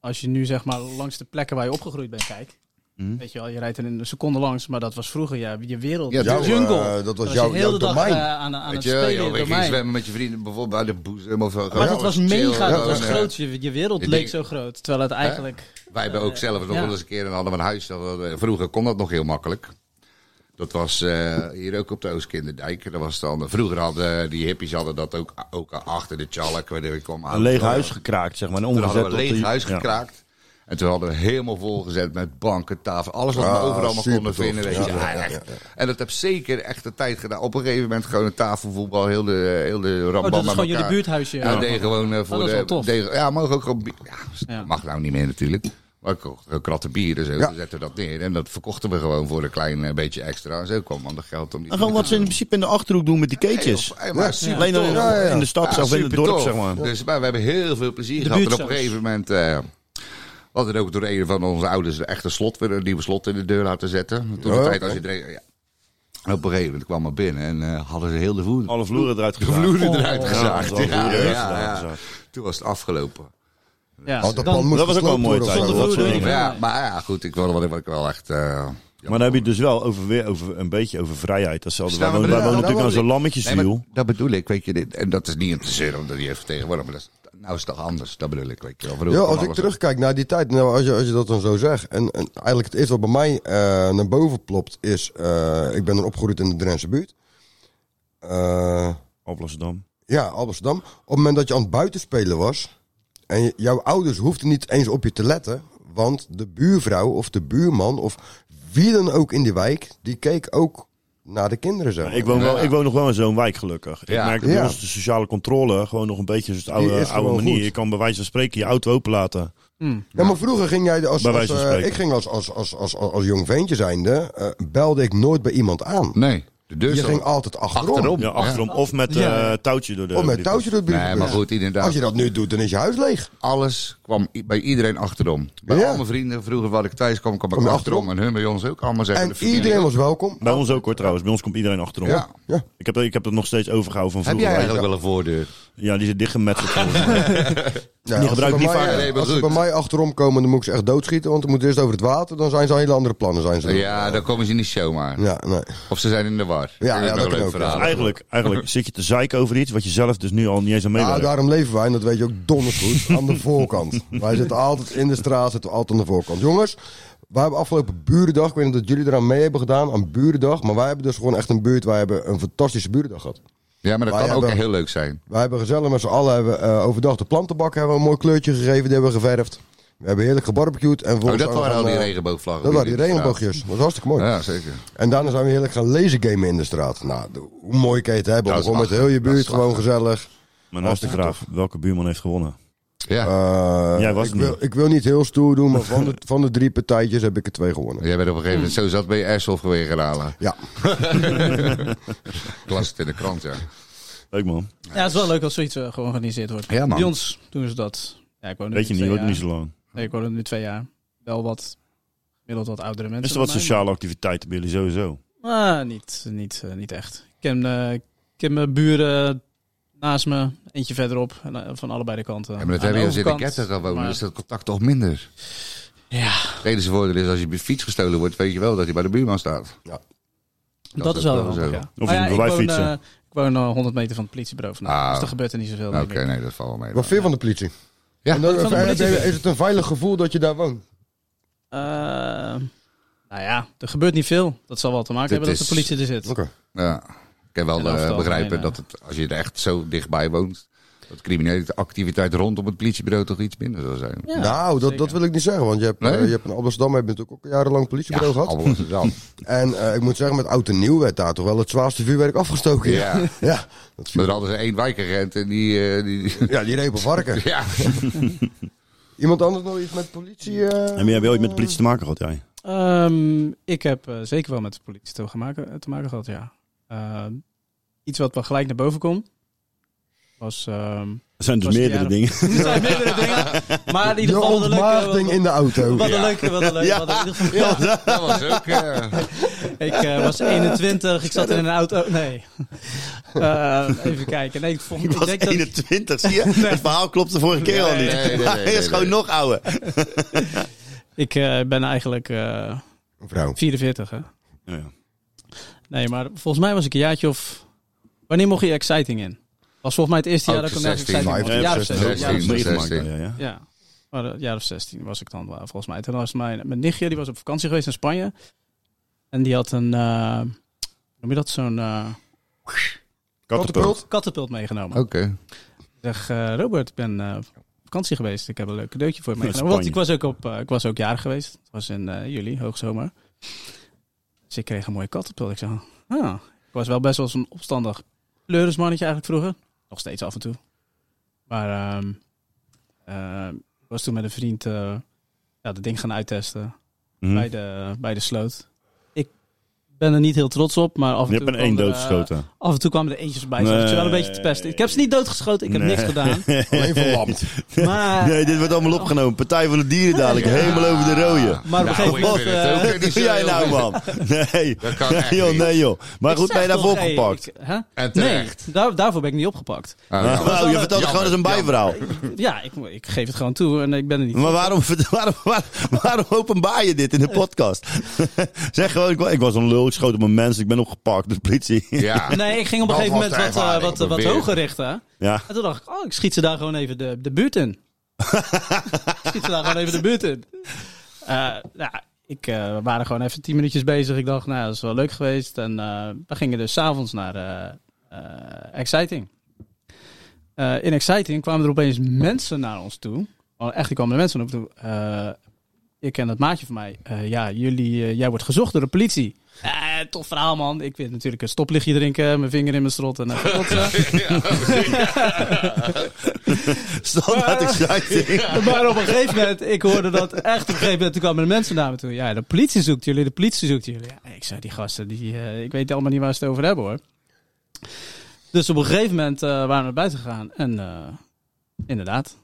Speaker 2: als je nu zeg maar langs de plekken waar je opgegroeid bent kijkt.
Speaker 3: Mhm.
Speaker 2: Weet je wel, je rijdt er in een seconde langs. Maar dat was vroeger ja, je wereld.
Speaker 5: Ja,
Speaker 2: je
Speaker 1: buiten. Jouw,
Speaker 2: jungle.
Speaker 1: eh, dat was
Speaker 2: was
Speaker 1: jouw,
Speaker 2: je heel
Speaker 1: jouw
Speaker 2: de dag
Speaker 1: domein.
Speaker 2: eh, aan, aan
Speaker 5: Weet
Speaker 2: het
Speaker 5: je,
Speaker 2: spelen.
Speaker 5: joh,
Speaker 2: in
Speaker 5: je
Speaker 2: het
Speaker 5: ging
Speaker 2: domein.
Speaker 5: zwemmen met je vrienden, bijvoorbeeld bij de boezem of zo.
Speaker 2: Maar
Speaker 5: Gewoon
Speaker 2: dat was
Speaker 5: chill,
Speaker 2: mega, dat
Speaker 5: gewoon,
Speaker 2: was
Speaker 5: eh,
Speaker 2: groot. Je, je wereld
Speaker 5: Ik
Speaker 2: leek
Speaker 5: denk-
Speaker 2: zo groot. Terwijl het eigenlijk...
Speaker 5: Wij hebben ook zelf nog
Speaker 2: ja.
Speaker 5: wel eens een keer een hadden we een huis. dat we- Vroeger kon dat nog heel makkelijk. Dat was eh, hier ook op de Oostkinderdijk. Dat was dan, vroeger hadden die hippies hadden dat ook, ook achter de tjalk. waar ik kwam
Speaker 3: Een leeg huis gekraakt, zeg maar. En
Speaker 5: Toen
Speaker 3: omgezet
Speaker 5: hadden we een
Speaker 3: tot
Speaker 5: leeg
Speaker 3: de-
Speaker 5: huis
Speaker 3: ja.
Speaker 5: gekraakt. En toen hadden we helemaal volgezet met banken, tafel, alles wat we
Speaker 1: Ah,
Speaker 5: overal maar konden
Speaker 1: supertof.
Speaker 5: vinden. Weet je.
Speaker 1: Ja, ja,
Speaker 5: Ja,
Speaker 1: ja,
Speaker 5: echt. En dat heb zeker echt de tijd gedaan. Op een gegeven moment gewoon een tafelvoetbal, heel de, heel de rambam
Speaker 2: Oh, dat is
Speaker 5: bij
Speaker 2: gewoon jullie
Speaker 5: elkaar.
Speaker 2: buurthuisje. Oh,
Speaker 5: Ja, deed gewoon eh, voor
Speaker 2: dat is wel
Speaker 5: de.
Speaker 2: tof.
Speaker 5: deed- ja, mogen ook gewoon. bi- Ja, s-
Speaker 2: Ja.
Speaker 5: mag nou niet meer natuurlijk. Maar ik kocht een kratten bier en zo.
Speaker 1: Ja.
Speaker 5: Toen zetten we dat neer. En dat verkochten we gewoon voor een klein eh, beetje extra. En zo kwam dan de geld om die.
Speaker 3: En gewoon wat ze in principe in de achterhoek doen met die keetjes.
Speaker 5: Hey, maar super
Speaker 3: Alleen dan in,
Speaker 5: tof.
Speaker 1: Ja, ja.
Speaker 3: in de stad
Speaker 5: Ja,
Speaker 3: of in het dorp,
Speaker 5: supertof.
Speaker 3: zeg maar.
Speaker 5: Dus maar we hebben heel veel plezier
Speaker 2: De
Speaker 5: gehad. En op
Speaker 2: buurtzaus.
Speaker 5: een gegeven moment. eh we hadden ook door een van onze ouders een echte slot weer een nieuwe slot in de deur laten zetten. Toen
Speaker 3: Oh,
Speaker 5: de
Speaker 1: Ja,
Speaker 5: tijd als je er- ja. En Op een gegeven moment kwam er binnen en eh, hadden ze heel de voer.
Speaker 3: Alle vloeren eruit
Speaker 5: De
Speaker 3: gezaagd.
Speaker 5: vloer
Speaker 2: Oh.
Speaker 5: eruit gezaagd.
Speaker 3: alle
Speaker 5: Ja,
Speaker 3: vloeren
Speaker 5: ja,
Speaker 3: eruit
Speaker 5: ja.
Speaker 3: gezaagd.
Speaker 5: Toen was het afgelopen.
Speaker 2: Ja.
Speaker 1: Oh, dat
Speaker 2: Dan-
Speaker 1: pand moest
Speaker 3: Dat was ook wel een mooie
Speaker 1: gesloopt
Speaker 3: tijd.
Speaker 1: worden
Speaker 2: Zonder
Speaker 1: of zo.
Speaker 3: dat soort
Speaker 2: vloer,
Speaker 3: dingen.
Speaker 2: ja.
Speaker 5: Ja, maar ja, goed, ik wil wat ik wel echt. eh
Speaker 3: Maar dan heb je het dus wel over, weer over een beetje over vrijheid. Datzelfde. Wij
Speaker 5: Staan we
Speaker 3: wonen,
Speaker 5: bij-
Speaker 3: wij wonen
Speaker 5: ja,
Speaker 3: natuurlijk aan
Speaker 5: daar
Speaker 3: zo'n
Speaker 5: woon Nee,
Speaker 3: lammetjeswiel.
Speaker 5: maar dat bedoel ik, weet je. Dit, en dat is niet om te zeuren, omdat die heeft tegenwoordig. Maar dat is, nou is het toch anders, dat bedoel ik, weet je wel. Vroeger
Speaker 1: Ja,
Speaker 5: kon
Speaker 1: als ik
Speaker 5: alles-
Speaker 1: terugkijk naar die tijd, nou, als, je, als je dat dan zo zegt. En, en eigenlijk het eerste wat bij mij eh, naar boven plopt is. eh, ik ben dan opgegroeid in de Drentse buurt. Eh,
Speaker 3: Alblasserdam.
Speaker 1: Ja, Amsterdam. Op het moment dat je aan het buitenspelen was. En je- jouw ouders hoefden niet eens op je te letten. Want de buurvrouw of de buurman of wie dan ook in die wijk. Die keek ook naar de kinderen zo.
Speaker 3: Ik woon, wel, ik woon nog wel in zo'n wijk, gelukkig. Ik
Speaker 5: Ja.
Speaker 3: merk dat
Speaker 1: Ja.
Speaker 3: bij ons de sociale controle gewoon nog een beetje is het
Speaker 1: Die
Speaker 3: oude,
Speaker 1: is gewoon
Speaker 3: oude manier.
Speaker 1: goed.
Speaker 3: Je kan bij wijze van spreken je auto open laten.
Speaker 1: Ja, maar vroeger ging jij als,
Speaker 3: Bij
Speaker 1: als,
Speaker 3: wijze van
Speaker 1: eh,
Speaker 3: spreken.
Speaker 1: ik ging als, als, als, als, als, als jong veentje zijnde, eh, belde ik nooit bij iemand aan.
Speaker 5: Nee, de deur
Speaker 1: je
Speaker 5: staat-
Speaker 1: ging altijd achterom.
Speaker 5: achterom.
Speaker 3: Ja, achterom. Of met eh
Speaker 2: Ja.
Speaker 3: touwtje door de...
Speaker 1: Of met touwtje door het
Speaker 5: Nee,
Speaker 1: brievenbus.
Speaker 5: maar goed,
Speaker 1: Als
Speaker 5: inderdaad.
Speaker 1: je dat nu doet, dan is je huis leeg.
Speaker 5: Alles kwam i- bij iedereen achterom. Bij
Speaker 1: Ja.
Speaker 5: al mijn vrienden, vroeger waar ik thuis kwam, kwam ik
Speaker 1: Kom je
Speaker 5: achterom.
Speaker 1: achterom?
Speaker 5: En hun bij ons ook allemaal zeggen.
Speaker 1: En
Speaker 5: de familie.
Speaker 1: iedereen was welkom.
Speaker 3: Bij ons ook hoor trouwens. Bij ons komt iedereen achterom.
Speaker 5: Ja.
Speaker 1: Ja.
Speaker 3: Ik, heb, ik heb het nog steeds overgehouden van
Speaker 5: Heb
Speaker 3: vroeger.
Speaker 5: jij Ah, eigenlijk wel een voordeur?
Speaker 3: Ja, die zit dichtgemet. volgens mij.
Speaker 1: Ja,
Speaker 3: Die
Speaker 1: als
Speaker 3: gebruik
Speaker 1: ze bij
Speaker 3: ik niet
Speaker 1: mij-
Speaker 3: vaak.
Speaker 5: Nee, maar
Speaker 1: Als ze
Speaker 5: goed.
Speaker 1: bij mij achterom komen, dan moet ik ze echt doodschieten. Want dan moet eerst over het water. Dan zijn ze hele andere plannen. Zijn ze.
Speaker 5: Ja, dan komen ze niet zomaar.
Speaker 1: Ja, nee.
Speaker 5: Of ze zijn in de war.
Speaker 1: Ja, ja,
Speaker 5: is
Speaker 1: dat
Speaker 5: een
Speaker 1: kan
Speaker 5: leuk
Speaker 1: ook, ja.
Speaker 5: verhaal.
Speaker 3: eigenlijk, eigenlijk zit je te zeiken over iets wat je zelf dus nu al niet eens aan
Speaker 1: Ja,
Speaker 3: meewerkt.
Speaker 1: daarom leven wij, en dat weet je ook donders goed, aan de voorkant. Wij zitten altijd in de straat, zitten we altijd aan de voorkant. Jongens, wij hebben afgelopen Burendag, ik weet niet of jullie eraan mee hebben gedaan, aan Burendag. Maar wij hebben dus gewoon echt een buurt, wij hebben een fantastische Burendag gehad.
Speaker 5: Ja, maar dat
Speaker 1: Wij
Speaker 5: kan ook
Speaker 1: hebben-
Speaker 5: heel leuk zijn.
Speaker 1: Wij hebben gezellig met z'n allen hebben, eh, overdag de plantenbak hebben we een mooi kleurtje gegeven, die hebben we geverfd. We hebben heerlijk gebarbecued. En
Speaker 5: Oh,
Speaker 1: volgens
Speaker 5: dat waren al die
Speaker 1: regenboogjes. eh,
Speaker 5: regenboogvlaggen.
Speaker 1: Dat waren die
Speaker 5: in de straat.
Speaker 1: regenboogjes. Dat was hartstikke mooi.
Speaker 5: Ja, zeker.
Speaker 1: En daarna zijn we heerlijk gaan lezen gamen in de straat. Nou, de- hoe mooi kan je het hebben?
Speaker 5: Dat
Speaker 1: Om
Speaker 5: is
Speaker 1: gewoon met
Speaker 5: lachen.
Speaker 1: heel je
Speaker 5: Dat
Speaker 1: buurt
Speaker 5: is
Speaker 1: gewoon
Speaker 5: lachen.
Speaker 1: gezellig.
Speaker 3: Mijn laatste vraag. Welke buurman heeft gewonnen?
Speaker 5: Ja,
Speaker 1: Eh,
Speaker 3: Jij was
Speaker 1: ik,
Speaker 3: het
Speaker 1: wil,
Speaker 3: niet.
Speaker 1: ik wil niet heel stoer doen, maar van de, van de drie partijtjes heb ik er twee gewonnen.
Speaker 5: jij bent op een gegeven moment zo zat bij je airsoft geweest gaan halen.
Speaker 1: Ja,
Speaker 5: Ik las het in de krant, ja.
Speaker 3: Leuk man.
Speaker 2: Ja, het is wel leuk als zoiets eh, georganiseerd wordt.
Speaker 5: Ja, man.
Speaker 2: Bij ons doen ze dat. Ja, ik woon nu
Speaker 3: Weet je
Speaker 2: twee
Speaker 3: niet, hoor.
Speaker 2: jaar.
Speaker 3: Niet zo lang.
Speaker 2: Nee, ik woon er nu twee jaar. Wel wat, middels wat oudere mensen.
Speaker 3: Is er wat
Speaker 2: dan mij,
Speaker 3: sociale activiteiten bij jullie sowieso?
Speaker 2: maar- Ah, niet, niet, eh, niet echt. Ik ken, eh, ik ken mijn buren naast me, eentje verderop, en, eh, van allebei de kanten.
Speaker 5: Ja, maar dat
Speaker 2: Aan de
Speaker 5: hebben je als in de
Speaker 2: overkant,
Speaker 5: ketter gaan wonen,
Speaker 2: maar-
Speaker 5: dus dat contact toch minder.
Speaker 2: Ja,
Speaker 5: Het enige voordeel is, als je fiets gestolen wordt, weet je wel dat je bij de buurman staat.
Speaker 2: dat,
Speaker 5: Dat
Speaker 2: is
Speaker 5: is
Speaker 2: wel
Speaker 5: ook
Speaker 2: handig,
Speaker 5: wel zo.
Speaker 2: ja.
Speaker 3: Of
Speaker 2: Maar ja,
Speaker 3: je
Speaker 2: ik
Speaker 3: moet
Speaker 2: woon,
Speaker 3: fietsen.
Speaker 2: eh, ik woon eh, 100 meter van het politiebureau vandaan,
Speaker 5: Ah.
Speaker 2: dus er gebeurt er niet zoveel.
Speaker 5: Oké,
Speaker 2: denk ik.
Speaker 5: nee, dat valt wel mee.
Speaker 1: wat
Speaker 5: dan.
Speaker 1: vind je van de politie?
Speaker 5: Ja,
Speaker 1: En dan-
Speaker 2: van de
Speaker 1: eh,
Speaker 2: politie. dus.
Speaker 1: Is het een veilig gevoel dat je daar woont?
Speaker 2: Eh, nou ja, er gebeurt niet veel. Dat zal wel te maken
Speaker 5: Dit
Speaker 2: hebben dat
Speaker 5: is-
Speaker 2: de politie er zit.
Speaker 1: Oké.
Speaker 5: Ja. Ik kan wel
Speaker 2: En over het
Speaker 5: eh, begrijpen
Speaker 2: algemeen,
Speaker 5: dat het, als je er echt zo dichtbij woont, dat criminele activiteit rondom het politiebureau toch iets minder zal zijn.
Speaker 2: Ja,
Speaker 1: nou, dat, dat
Speaker 2: zeker.
Speaker 1: wil ik niet zeggen, want je hebt, eh,
Speaker 5: Nee?
Speaker 1: je hebt in Amsterdam heb je natuurlijk ook jarenlang politiebureau gehad.
Speaker 5: Al was het dan.
Speaker 1: En eh, ik moet zeggen, met oud en nieuw werd daar toch wel het zwaarste vuurwerk afgestoken.
Speaker 5: Ja.
Speaker 1: ja, dat viel-
Speaker 5: Maar er hadden ze één wijkagent en die... eh, die
Speaker 1: ja die repen varken.
Speaker 5: ja.
Speaker 1: Iemand anders nog iets met politie? eh?
Speaker 3: En heb je ooit met de politie te maken gehad, jij?
Speaker 2: Ehm, ik heb eh, zeker wel met de politie te maken, te maken gehad, ja. Ehm, iets wat wel gelijk naar boven komt. Was, ehm,
Speaker 3: Er zijn dus
Speaker 2: Was die
Speaker 3: meerdere
Speaker 2: jaren-
Speaker 3: dingen.
Speaker 2: er zijn meerdere dingen, maar in ieder
Speaker 1: Je
Speaker 2: geval wat een
Speaker 1: ontmaagding
Speaker 2: leuke...
Speaker 1: in Oh, de auto.
Speaker 2: Wat, wat een leuke, wat een leuke. Wat een- in ieder geval, ja.
Speaker 5: Dat was ook... eh,
Speaker 2: Ik eh, was 21, ik zat in een auto... oh, Nee. Eh, even kijken. Nee, ik, vond,
Speaker 3: Ik
Speaker 2: ik
Speaker 3: was
Speaker 2: denk dat...
Speaker 3: 21, zie je? Het verhaal klopt de vorige keer al
Speaker 5: Nee,
Speaker 3: niet.
Speaker 5: nee, nee, nee,
Speaker 3: Hij is
Speaker 5: nee,
Speaker 3: gewoon
Speaker 5: nee.
Speaker 3: nog ouder.
Speaker 2: Ik eh, ben eigenlijk eh,
Speaker 1: Een Vrouw.
Speaker 2: 44, hè?
Speaker 3: Ja. Nou,
Speaker 2: Nee, maar volgens mij was ik een jaartje of... Wanneer mocht je exciting in? Was volgens mij het eerste jaar
Speaker 5: Ook
Speaker 2: dat ik een nergens
Speaker 5: 16,
Speaker 2: exciting mocht. Een jaar of
Speaker 1: 15,
Speaker 2: 16. ja,
Speaker 5: 16.
Speaker 3: Meegemaakt,
Speaker 5: zestien.
Speaker 3: ja, ja.
Speaker 2: Ja, maar eh, een jaar of 16 was ik dan wel, volgens mij. Toen was mijn, mijn nichtje, die was op vakantie geweest in Spanje. En die had een, eh, hoe noem je dat, zo'n eh
Speaker 3: Kattenpult.
Speaker 2: kattenpult meegenomen.
Speaker 5: Oké.
Speaker 2: Zeg, eh, Robert, ik ben eh, op vakantie geweest. Ik heb een leuk cadeautje voor je
Speaker 3: Ja,
Speaker 2: meegenomen. Want ik
Speaker 3: Spanje.
Speaker 2: was ook, op, eh, ik was ook jarig geweest. Het was in eh, juli, hoogzomer. Dus ik kreeg een mooie kattenpult. Ik zei, ah, ik was wel best wel zo'n opstandig pleurismannetje eigenlijk vroeger. Nog steeds af en toe. Maar ehm, ehm, ik was toen met een vriend eh ja, dat ding gaan uittesten
Speaker 3: Mhm.
Speaker 2: bij, de, bij de sloot. Ik ben er niet heel trots op, maar af en
Speaker 3: Je
Speaker 2: toe
Speaker 3: hebt een
Speaker 2: kwam
Speaker 3: één
Speaker 2: er, eh,
Speaker 3: doodgeschoten.
Speaker 2: Af en toe kwamen er eentjes bij. Ze wel een
Speaker 3: Nee.
Speaker 2: beetje te pesten. Ik heb ze niet doodgeschoten. Ik heb
Speaker 3: Nee.
Speaker 2: niks gedaan.
Speaker 1: Alleen verlamd.
Speaker 2: Maar,
Speaker 3: Nee, dit wordt allemaal opgenomen. Partij van de Dieren dadelijk. Helemaal over de rode.
Speaker 2: maar op een gegeven
Speaker 5: Nou, ik
Speaker 2: moment...
Speaker 5: vind het ook
Speaker 2: eh,
Speaker 5: niet
Speaker 3: Wat
Speaker 5: zo
Speaker 3: doe jij
Speaker 5: heel
Speaker 3: nou,
Speaker 5: goed.
Speaker 3: man? Nee.
Speaker 5: Dat kan echt
Speaker 3: Nee, joh,
Speaker 5: niet.
Speaker 3: nee, joh. Maar
Speaker 2: ik
Speaker 3: goed,
Speaker 2: zeg
Speaker 3: ben je daarvoor
Speaker 2: toch, hey,
Speaker 3: gepakt?
Speaker 2: ik- hè?
Speaker 5: En
Speaker 2: Nee,
Speaker 5: terecht.
Speaker 2: daar, daarvoor ben ik niet opgepakt.
Speaker 5: Ah,
Speaker 3: Oh,
Speaker 5: ja.
Speaker 3: je vertelt het gewoon als een bijverhaal.
Speaker 2: Ja, ik, ik geef het gewoon toe en ik ben er niet.
Speaker 3: Hm. Maar waarom, waarom, waarom, waarom openbaar je dit in de podcast? zeg gewoon, ik wa- ik was een lul, ik schoot op een mens, ik ben opgepakt door de politie.
Speaker 5: Ja.
Speaker 2: Nee, ik ging op een
Speaker 5: Dat
Speaker 2: gegeven
Speaker 5: was
Speaker 2: moment
Speaker 5: de
Speaker 2: wat, eh,
Speaker 5: ervaring,
Speaker 2: wat, wat
Speaker 5: probeer.
Speaker 2: hoger richten.
Speaker 3: Ja,
Speaker 2: En toen dacht ik, oh, ik schiet ze daar gewoon even de, de buurt in. ik schiet ze daar gewoon even de buurt in. Eh, nou, ik, eh, we waren gewoon even tien minuutjes bezig. Ik dacht, nou, dat is wel leuk geweest. En eh, we gingen dus s'avonds naar eh, eh, Exciting. eh, in Exciting kwamen er opeens mensen naar ons toe. Oh, echt, die kwamen er mensen naar ons toe. Eh, ik ken dat maatje van mij. Eh, ja, jullie, eh, jij wordt gezocht door de politie. Eh, tof verhaal, man. Ik weet natuurlijk een stoplichtje drinken, mijn vinger in mijn strot en eh, kotsen.
Speaker 3: Standaard exciting.
Speaker 2: maar op een gegeven moment, ik hoorde dat echt op een gegeven moment. Toen kwamen de mensen naar me toe. Ja, de politie zoekt jullie, de politie zoekt jullie. Ja, ik zei, die gasten, die, eh, ik weet allemaal niet waar ze het over hebben hoor. Dus op een gegeven moment eh, waren we naar buiten gegaan. En eh, inderdaad,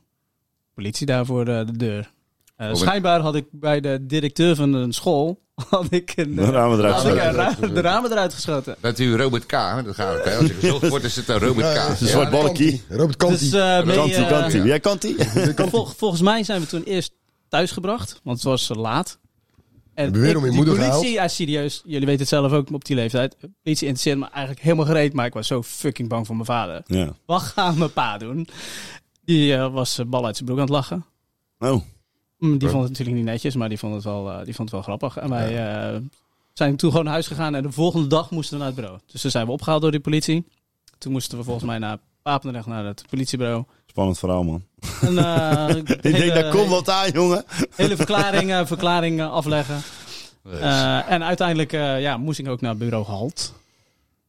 Speaker 2: politie daar voor de, de deur. Eh,
Speaker 5: Robin.
Speaker 2: schijnbaar had ik bij de directeur van een school, had ik een,
Speaker 3: Dan
Speaker 2: eh,
Speaker 3: ramen eruit.
Speaker 2: had ik
Speaker 3: gesloten.
Speaker 2: een ra- de ramen eruit geschoten.
Speaker 5: Bent u Robert K? Dat gaat het. hè? Als je gezocht wordt, is het een Robert K.
Speaker 3: Een soort
Speaker 5: Ja,
Speaker 3: balkie.
Speaker 1: Robert Kanti.
Speaker 2: Dus, eh, mee,
Speaker 3: Kanti,
Speaker 2: eh,
Speaker 3: kanti. Jij kanti?
Speaker 2: Vol- volgens mij zijn we toen eerst thuisgebracht, want het was eh, laat. En
Speaker 1: Hebben we weer om je
Speaker 2: die
Speaker 1: moeder
Speaker 2: politie,
Speaker 1: gehaald?
Speaker 2: ja serieus, jullie weten het zelf ook op die leeftijd. De politie interesseerde me eigenlijk helemaal gereed, maar ik was zo fucking bang voor mijn vader.
Speaker 3: Ja.
Speaker 2: Wat gaan mijn pa doen? Die eh, was eh, bal uit zijn broek aan het lachen.
Speaker 3: Oh,
Speaker 2: Mm, Die vond het natuurlijk niet netjes, maar die vond het wel, eh, die vond het wel grappig. En wij eh, zijn toen gewoon naar huis gegaan en de volgende dag moesten we naar het bureau. Dus toen zijn we opgehaald door die politie. Toen moesten we volgens mij naar Papendrecht, naar het politiebureau.
Speaker 3: spannend verhaal, man.
Speaker 2: En, eh,
Speaker 3: Ik denk,
Speaker 2: hele-
Speaker 3: daar komt wat aan, jongen.
Speaker 2: hele verklaring, eh, verklaring eh, afleggen. Eh, en uiteindelijk eh, ja, moest ik ook naar bureau Halt.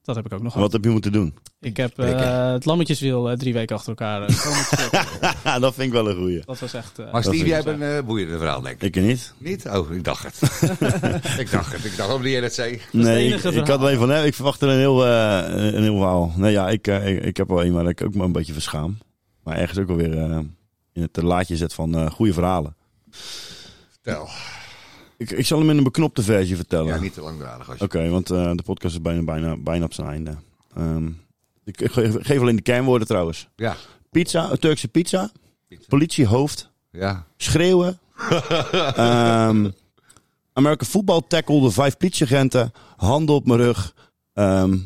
Speaker 2: Dat heb ik ook nog gehad.
Speaker 3: Wat heb je moeten doen?
Speaker 2: Ik heb eh, het lammetjeswiel eh, drie weken achter elkaar. eh, gewoon moeten slikken.
Speaker 3: Ja, dat vind ik wel een goeie.
Speaker 2: dat was echt... eh,
Speaker 5: Maar
Speaker 3: Dat
Speaker 5: Steve,
Speaker 3: is
Speaker 5: jij hebt een eh, boeiende verhaal, denk ik.
Speaker 3: Ik niet.
Speaker 5: Niet? Oh, ik dacht het. ik dacht het. Ik dacht ook dat jij dat zei.
Speaker 2: het
Speaker 3: Nee, ik,
Speaker 2: enige
Speaker 3: ik had
Speaker 2: verhaal.
Speaker 3: alleen van hem. Ik verwachtte een heel, eh, een heel verhaal. Nee, ja, ik, eh, ik, ik heb wel een waar ik ook me een beetje verschaam. Maar ergens ook alweer eh in het laadje zet van eh goede verhalen.
Speaker 5: Vertel.
Speaker 3: Ik, ik zal hem in een beknopte versie vertellen.
Speaker 5: Ja, niet te langdradig als je...
Speaker 3: Oké, want eh, de podcast is bijna, bijna, bijna op zijn einde. Ehm, ik ik ge- geef alleen de kernwoorden trouwens.
Speaker 5: Ja.
Speaker 3: Pizza, een Turkse pizza, politiehoofd,
Speaker 5: Ja.
Speaker 3: schreeuwen. Ehm American Football Tackle, de vijf politieagenten, handen op mijn rug. Ehm,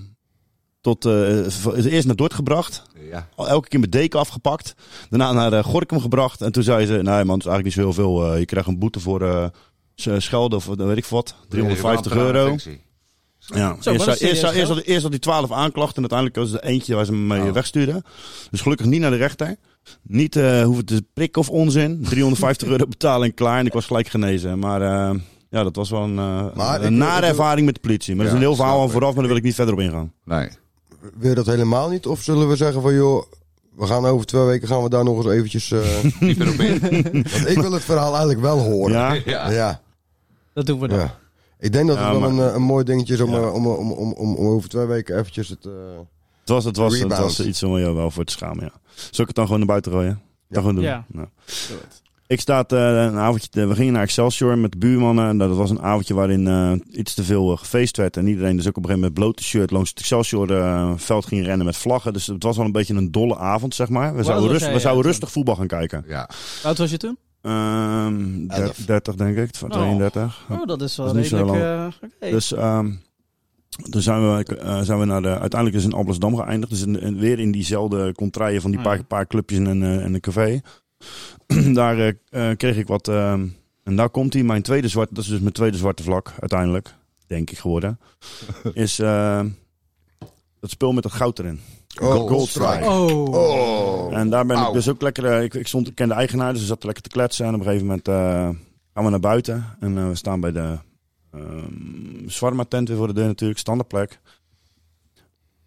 Speaker 3: tot, eh, v- eerst naar Dordt gebracht,
Speaker 5: Ja.
Speaker 3: al- elke keer mijn deken afgepakt. Daarna naar eh, Gorkum gebracht. En toen zei ze, nee man, het is eigenlijk niet zo heel veel. eh, je krijgt een boete voor eh, s- schelden of eh, weet ik wat, 350 euro. Ja,
Speaker 2: Zo,
Speaker 3: eerst,
Speaker 2: wat
Speaker 3: zou-
Speaker 2: een
Speaker 3: eerst, zou-
Speaker 2: serieus
Speaker 3: eerst, had, eerst had hij twaalf aanklachten en uiteindelijk was er eentje waar ze hem mee wegstuurden. Dus gelukkig niet naar de rechter. Niet eh, hoeven te prikken of onzin. 350 euro betalen en klaar. En ik was gelijk genezen. Maar eh, ja, dat was wel een, eh,
Speaker 1: Maar ik-
Speaker 3: een nare
Speaker 1: ik-
Speaker 3: ervaring met de politie. Maar dat is
Speaker 5: Ja,
Speaker 3: een heel verhaal
Speaker 5: snap
Speaker 3: aan
Speaker 5: ik.
Speaker 3: vooraf, maar daar wil ik niet verder op ingaan.
Speaker 5: Nee.
Speaker 1: Wil je dat helemaal niet? Of zullen we zeggen van joh, we gaan over twee weken gaan we daar nog eens eventjes... eh,
Speaker 5: Niet meer op in.
Speaker 1: want ik wil het verhaal eigenlijk wel horen.
Speaker 3: Ja?
Speaker 5: Ja.
Speaker 1: ja.
Speaker 2: Dat doen we dan.
Speaker 1: ja. Ik denk dat het
Speaker 3: Ja,
Speaker 1: wel
Speaker 3: maar-
Speaker 1: een, eh, een mooi dingetje is om,
Speaker 3: Ja.
Speaker 1: eh, om, om, om, om, om over twee weken eventjes het... eh,
Speaker 3: Het was, het was, het
Speaker 1: Rebound.
Speaker 3: was iets om je wel voor te schamen, ja. Zal ik het dan gewoon naar buiten gooien? Ja. gewoon doen?
Speaker 2: Ja.
Speaker 3: Nou. Ik sta te- een avondje, te- we gingen naar Excelsior met de buurmannen. En dat was een avondje waarin eh, iets te veel eh, gefeest werd. En iedereen dus ook op een gegeven moment met blote shirt langs het Excelsior eh, veld ging rennen met vlaggen. Dus het was wel een beetje een dolle avond, zeg maar. We zouden,
Speaker 2: was
Speaker 3: rust,
Speaker 2: jij,
Speaker 3: we
Speaker 2: eh,
Speaker 3: zouden
Speaker 2: toen?
Speaker 3: rustig voetbal gaan kijken.
Speaker 5: Ja.
Speaker 2: Hoe oud was je toen?
Speaker 3: Ehm, der-
Speaker 1: Elf.
Speaker 3: 30 denk ik, tw-
Speaker 2: Oh.
Speaker 3: 32.
Speaker 2: Oh, dat is wel
Speaker 3: Dat is niet zo
Speaker 2: redelijk... eh, oké.
Speaker 3: Dus ehm, toen zijn we, eh, zijn we naar de, uiteindelijk is in Amsterdam geëindigd. Dus in, in- weer in diezelfde contraien van die
Speaker 2: Ah,
Speaker 3: paar,
Speaker 2: ja.
Speaker 3: paar clubjes en, een, eh, en een café. daar eh, eh, kreeg ik wat. ehm, en daar komt hij, mijn tweede zwarte. Dat is dus mijn tweede zwarte vlak uiteindelijk, denk ik geworden. is ehm, dat speel met dat goud erin.
Speaker 5: Gold
Speaker 1: Goldstrike.
Speaker 2: Oh,
Speaker 1: Oh.
Speaker 3: En daar ben ik
Speaker 5: Auw.
Speaker 3: dus ook lekker. eh, Ik, ik, stond, ik ken de eigenaar, dus we zaten lekker te kletsen. En op een gegeven moment eh, gaan we naar buiten. En eh, we staan bij de ehm Swarma tent weer voor de deur natuurlijk, standaardplek.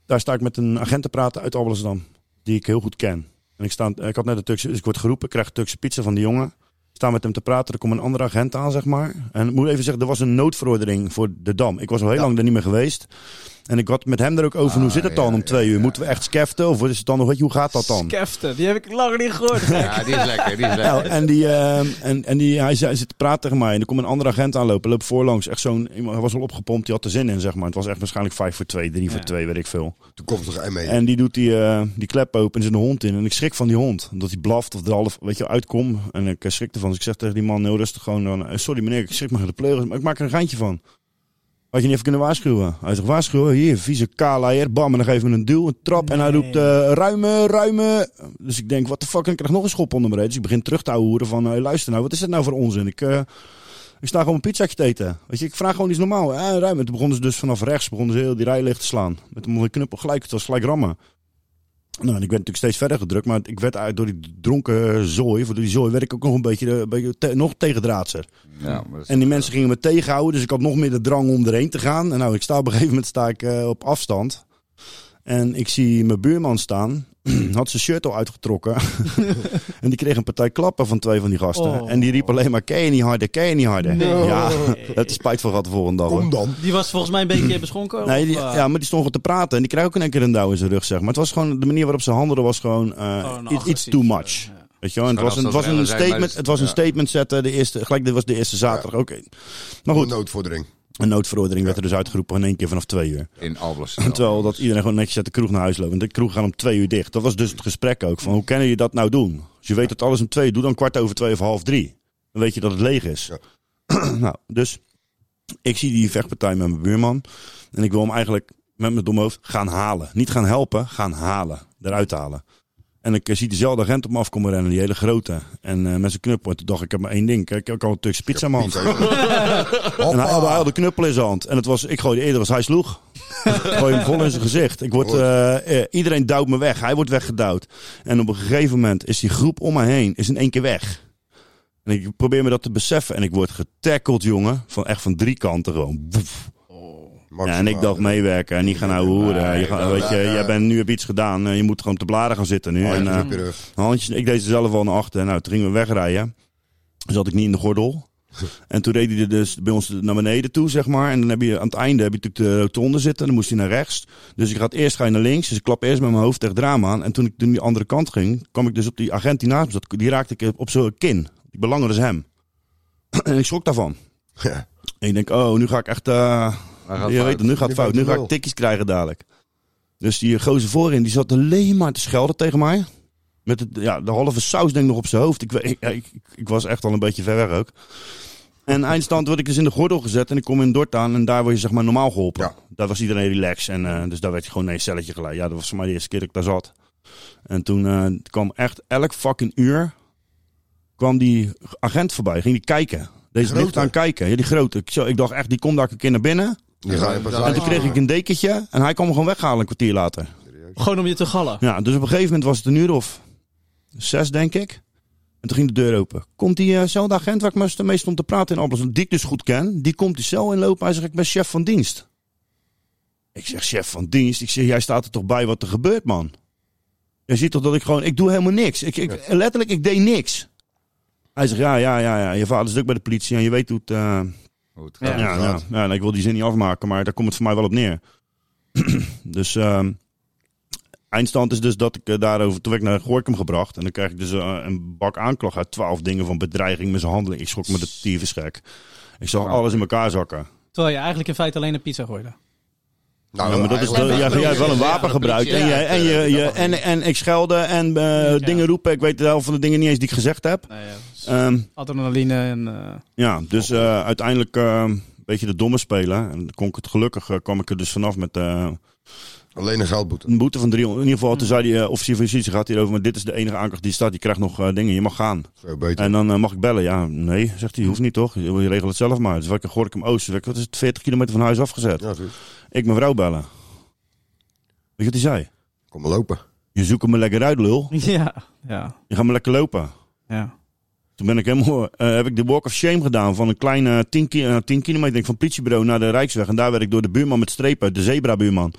Speaker 3: Daar sta ik met een agent te praten uit Amsterdam, die ik heel goed ken. En ik, sta, ik had net de Turkse, dus ik word geroepen, ik krijg Turkse pizza van die jongen. Ik sta met hem te praten, er komt een andere agent aan, zeg maar. En ik moet even zeggen, er was een noodverordening voor de Dam. Ik was al heel lang er niet meer geweest. En ik had met hem er ook over, hoe zit het dan
Speaker 5: Ah, ja,
Speaker 3: om
Speaker 5: ja,
Speaker 3: twee uur?
Speaker 5: ja.
Speaker 3: Moeten we echt skeften? Of is het dan nog, weet je, hoe gaat dat dan?
Speaker 2: Skefte, die heb ik langer niet gehoord.
Speaker 5: ja, die is lekker. Die is
Speaker 3: Ja,
Speaker 5: lekker.
Speaker 3: en die, ehm, en, en die, hij, zei- hij zit te praten tegen mij. En er komt een andere agent aanlopen. Loopt voorlangs. Echt zo'n, iemand- hij was al opgepompt. Die had er zin in, zeg maar. Het was echt waarschijnlijk 5 voor 2, 3 voor
Speaker 2: Ja.
Speaker 3: 2, weet ik veel.
Speaker 1: Toekomstige E. ME.
Speaker 3: En die doet die, eh, die klep open en er zit een hond in. En ik schrik van die hond. Omdat hij blaft of er half, weet je, uitkom. En ik eh, schrik ervan. Dus ik zeg tegen die man heel rustig gewoon dan... eh, Sorry meneer, ik schrik maar de pleuris. Maar ik maak er een geintje van. Had je niet even kunnen waarschuwen? Hij zegt, waarschuwen? Hier, vieze KLR. Bam, en dan geef hem een duw, een trap. En hij
Speaker 2: Nee.
Speaker 3: roept, eh, ruimen, ruimen. Dus ik denk, wat de fuck? En ik krijg nog een schop onder mijn reet. Dus ik begin terug te hoeren van, eh, luister nou, wat is dit nou voor onzin? Ik, eh, ik sta gewoon een pizzaatje te eten. Weet je, ik vraag gewoon iets normaal. Eh, Ja, ruim. En toen begonnen ze dus vanaf rechts, begonnen ze heel die rij leeg te slaan. Met een mooie knuppel gelijk, het was gelijk rammen. Nou, en ik werd natuurlijk steeds verder gedrukt, maar ik werd eigenlijk door die dronken zooi, voor die zooi werd ik ook nog een beetje, eh, een beetje te- nog tegendraadser.
Speaker 5: Ja, maar dat is-
Speaker 3: En die mensen gingen me tegenhouden, dus ik had nog meer de drang om erheen te gaan. En nou, ik sta op een gegeven moment sta ik, eh, op afstand. En ik zie mijn buurman staan. Had zijn shirt al uitgetrokken. en die kreeg een partij klappen van twee van die gasten.
Speaker 2: Oh.
Speaker 3: En die riep alleen maar, ken je niet harder, ken je niet harder.
Speaker 1: No.
Speaker 3: Ja, het is spijt van gehad de volgende dag. hoor.
Speaker 1: Kom dan.
Speaker 2: Die was volgens mij een beetje beschonken.
Speaker 3: Nee, die-
Speaker 2: of, eh,
Speaker 3: ja, maar die stond gewoon te praten. En die kreeg ook in één keer een douw in zijn rug, zeg maar. Het was gewoon, de manier waarop ze handelden was gewoon eh,
Speaker 2: gewoon
Speaker 3: iets- iets
Speaker 2: agressief,
Speaker 3: too
Speaker 2: eh,
Speaker 3: much.
Speaker 2: ja.
Speaker 3: Weet je wel, en het
Speaker 5: Gewoon
Speaker 3: was, een, het
Speaker 5: als dat
Speaker 3: was een
Speaker 5: rellen zijn, maar
Speaker 3: statement,
Speaker 5: dus-
Speaker 3: het was een
Speaker 5: ja.
Speaker 3: statement zetten. De eerste, gelijk, dit was de eerste zaterdag. Oké. Maar
Speaker 1: Een
Speaker 3: goed,
Speaker 1: noodvordering.
Speaker 3: een noodverordening werd er dus uitgeroepen in één keer vanaf twee uur.
Speaker 5: in Alblas.
Speaker 3: Terwijl
Speaker 5: dus-
Speaker 3: dat iedereen gewoon netjes uit de kroeg naar huis loopt. En de kroeg gaan om twee uur dicht. Dat was dus het gesprek ook. Van hoe kunnen je dat nou doen? Als je weet dat alles om twee uur doet, dan kwart over twee of half drie. Dan weet je dat het leeg is. nou, dus ik zie die vechtpartij met mijn buurman. En ik wil hem eigenlijk met mijn domme hoofd gaan halen. Niet gaan helpen, gaan halen. Eruit halen. En ik eh, zie dezelfde agent op me afkomen rennen, die hele grote. En eh met zijn knuppel. En toen dacht ik, ik heb maar één ding. Kijk, ik heb al een Turkse spits aan mijn hand. En hij, hij had de knuppel in zijn hand. En het was, ik gooide eerder als hij sloeg. ik gooi hem vol in zijn gezicht. Ik word, eh, eh, iedereen duwt me weg. Hij wordt weggedouwd. En op een gegeven moment is die groep om me heen is in één keer weg. En ik probeer me dat te beseffen. En ik word getackeld, jongen. Van echt van drie kanten gewoon. Woef. Ja, en ik dacht meewerken. En niet gaan nou hoeren. Je gaat- weet je, jij bent, nu heb je iets gedaan. Eh, Je moet gewoon op de bladen gaan zitten
Speaker 1: Oh,
Speaker 3: nu. En, eh, handjes. Ik deed ze zelf al naar achter. Nou, toen gingen we wegrijden. Zat ik niet in de gordel. En toen reed hij er dus bij ons naar beneden toe, zeg maar. En dan heb je aan het einde heb je natuurlijk de rotonde zitten. Dan moest hij naar rechts. Dus ik ga het eerst ga je naar links. Dus ik klap eerst met mijn hoofd tegen het raam aan. En toen ik toen die andere kant ging, kwam ik dus op die agent die naast me zat. Die raakte ik op zijn kin. Die belangrijke is hem. en ik schrok daarvan.
Speaker 1: Ja.
Speaker 3: En ik denk, oh, nu ga ik echt... eh, je weet het, nu gaat
Speaker 1: Nu
Speaker 3: het fout.
Speaker 1: gaat het
Speaker 3: Nu ga ik
Speaker 1: wel.
Speaker 3: tikjes krijgen dadelijk. Dus die gozer voorin, die zat alleen maar te schelden tegen mij. Met het, ja, de halve saus denk ik nog op zijn hoofd. Ik, we- ik, ik, ik was echt al een beetje ver weg ook. En eindstand word ik dus in de gordel gezet en ik kom in Dort aan en daar word je zeg maar normaal geholpen.
Speaker 1: Ja.
Speaker 3: Daar was iedereen relaxed en eh, dus daar werd je gewoon nee celletje gelijk. Ja, dat was voor mij de eerste keer dat ik daar zat. En toen eh, kwam echt elk fucking uur kwam die agent voorbij, ging die kijken. Deze
Speaker 1: Grote?
Speaker 3: ligt aan kijken, ja, die grote. Ik, zo, ik dacht echt, die komt daar een keer naar binnen.
Speaker 1: Nu ga je pas
Speaker 3: En toen kreeg ik een dekentje en hij kwam me gewoon weghalen een kwartier later.
Speaker 2: Gewoon om je te gallen.
Speaker 3: Ja, dus op een gegeven moment was het een uur of zes, denk ik. En toen ging de deur open. Komt diezelfde agent waar ik meest- mee stond te praten in Alblas, die ik dus goed ken, die komt die cel inlopen. Hij zegt, ik ben chef van dienst. Ik zeg, chef van dienst? Ik zeg, jij staat er toch bij wat er gebeurt, man? Je ziet toch dat ik gewoon, ik doe helemaal niks. Ik, ik, Letterlijk, ik deed niks. Hij zegt, ja, ja, ja, ja, je vader is ook bij de politie en je weet hoe het... eh, ja, ja, ja, nou, ik wil die zin niet afmaken, maar daar komt het voor mij wel op neer. dus ehm, eindstand is dus dat ik eh, daarover, toen werd ik naar Gorkum gebracht. En dan krijg ik dus eh, een bak aanklacht uit twaalf dingen van bedreiging, mishandeling. Ik schrok me de tyfus gek. Ik zag alles in elkaar zakken.
Speaker 2: Terwijl je eigenlijk in feite alleen een pizza gooide.
Speaker 5: Nou,
Speaker 3: Ja, maar dat is de, jij, jij hebt wel een wapen gebruikt. En, jij, en, je, je, en, en ik schelde en eh,
Speaker 2: Ja.
Speaker 3: dingen roepen. Ik weet de helft van de dingen niet eens die ik gezegd heb.
Speaker 2: Nee,
Speaker 3: Ehm,
Speaker 2: Adrenaline en... eh,
Speaker 3: Ja, dus eh, uiteindelijk eh, een beetje de domme spelen. En dan kon ik het gelukkig eh, kwam ik er dus vanaf met eh,
Speaker 1: Alleen een geldboete.
Speaker 3: een boete van 300. In ieder geval, toen zei die eh, officier van justitie gaat hierover, maar dit is de enige aanklacht die staat. Je krijgt nog eh, dingen, je mag gaan.
Speaker 1: Zo beter.
Speaker 3: En dan eh, mag ik bellen. Ja, nee, zegt hij, hoeft niet toch? Je je regelt het zelf maar. Dus werd ik in Gorkum Oost, werd ik, wat is het, 40 kilometer van huis afgezet.
Speaker 1: Ja, zo.
Speaker 3: Ik mijn vrouw bellen. Weet je wat hij zei?
Speaker 1: Kom maar lopen.
Speaker 3: Je zoekt me lekker uit, lul.
Speaker 2: ja, ja,
Speaker 3: Je gaat me lekker lopen.
Speaker 2: ja.
Speaker 3: Toen ben ik helemaal, eh, heb ik de walk of shame gedaan van een kleine 10, ki- eh, 10 kilometer denk ik, van het politiebureau naar de Rijksweg. En daar werd ik door de buurman met strepen, de zebrabuurman,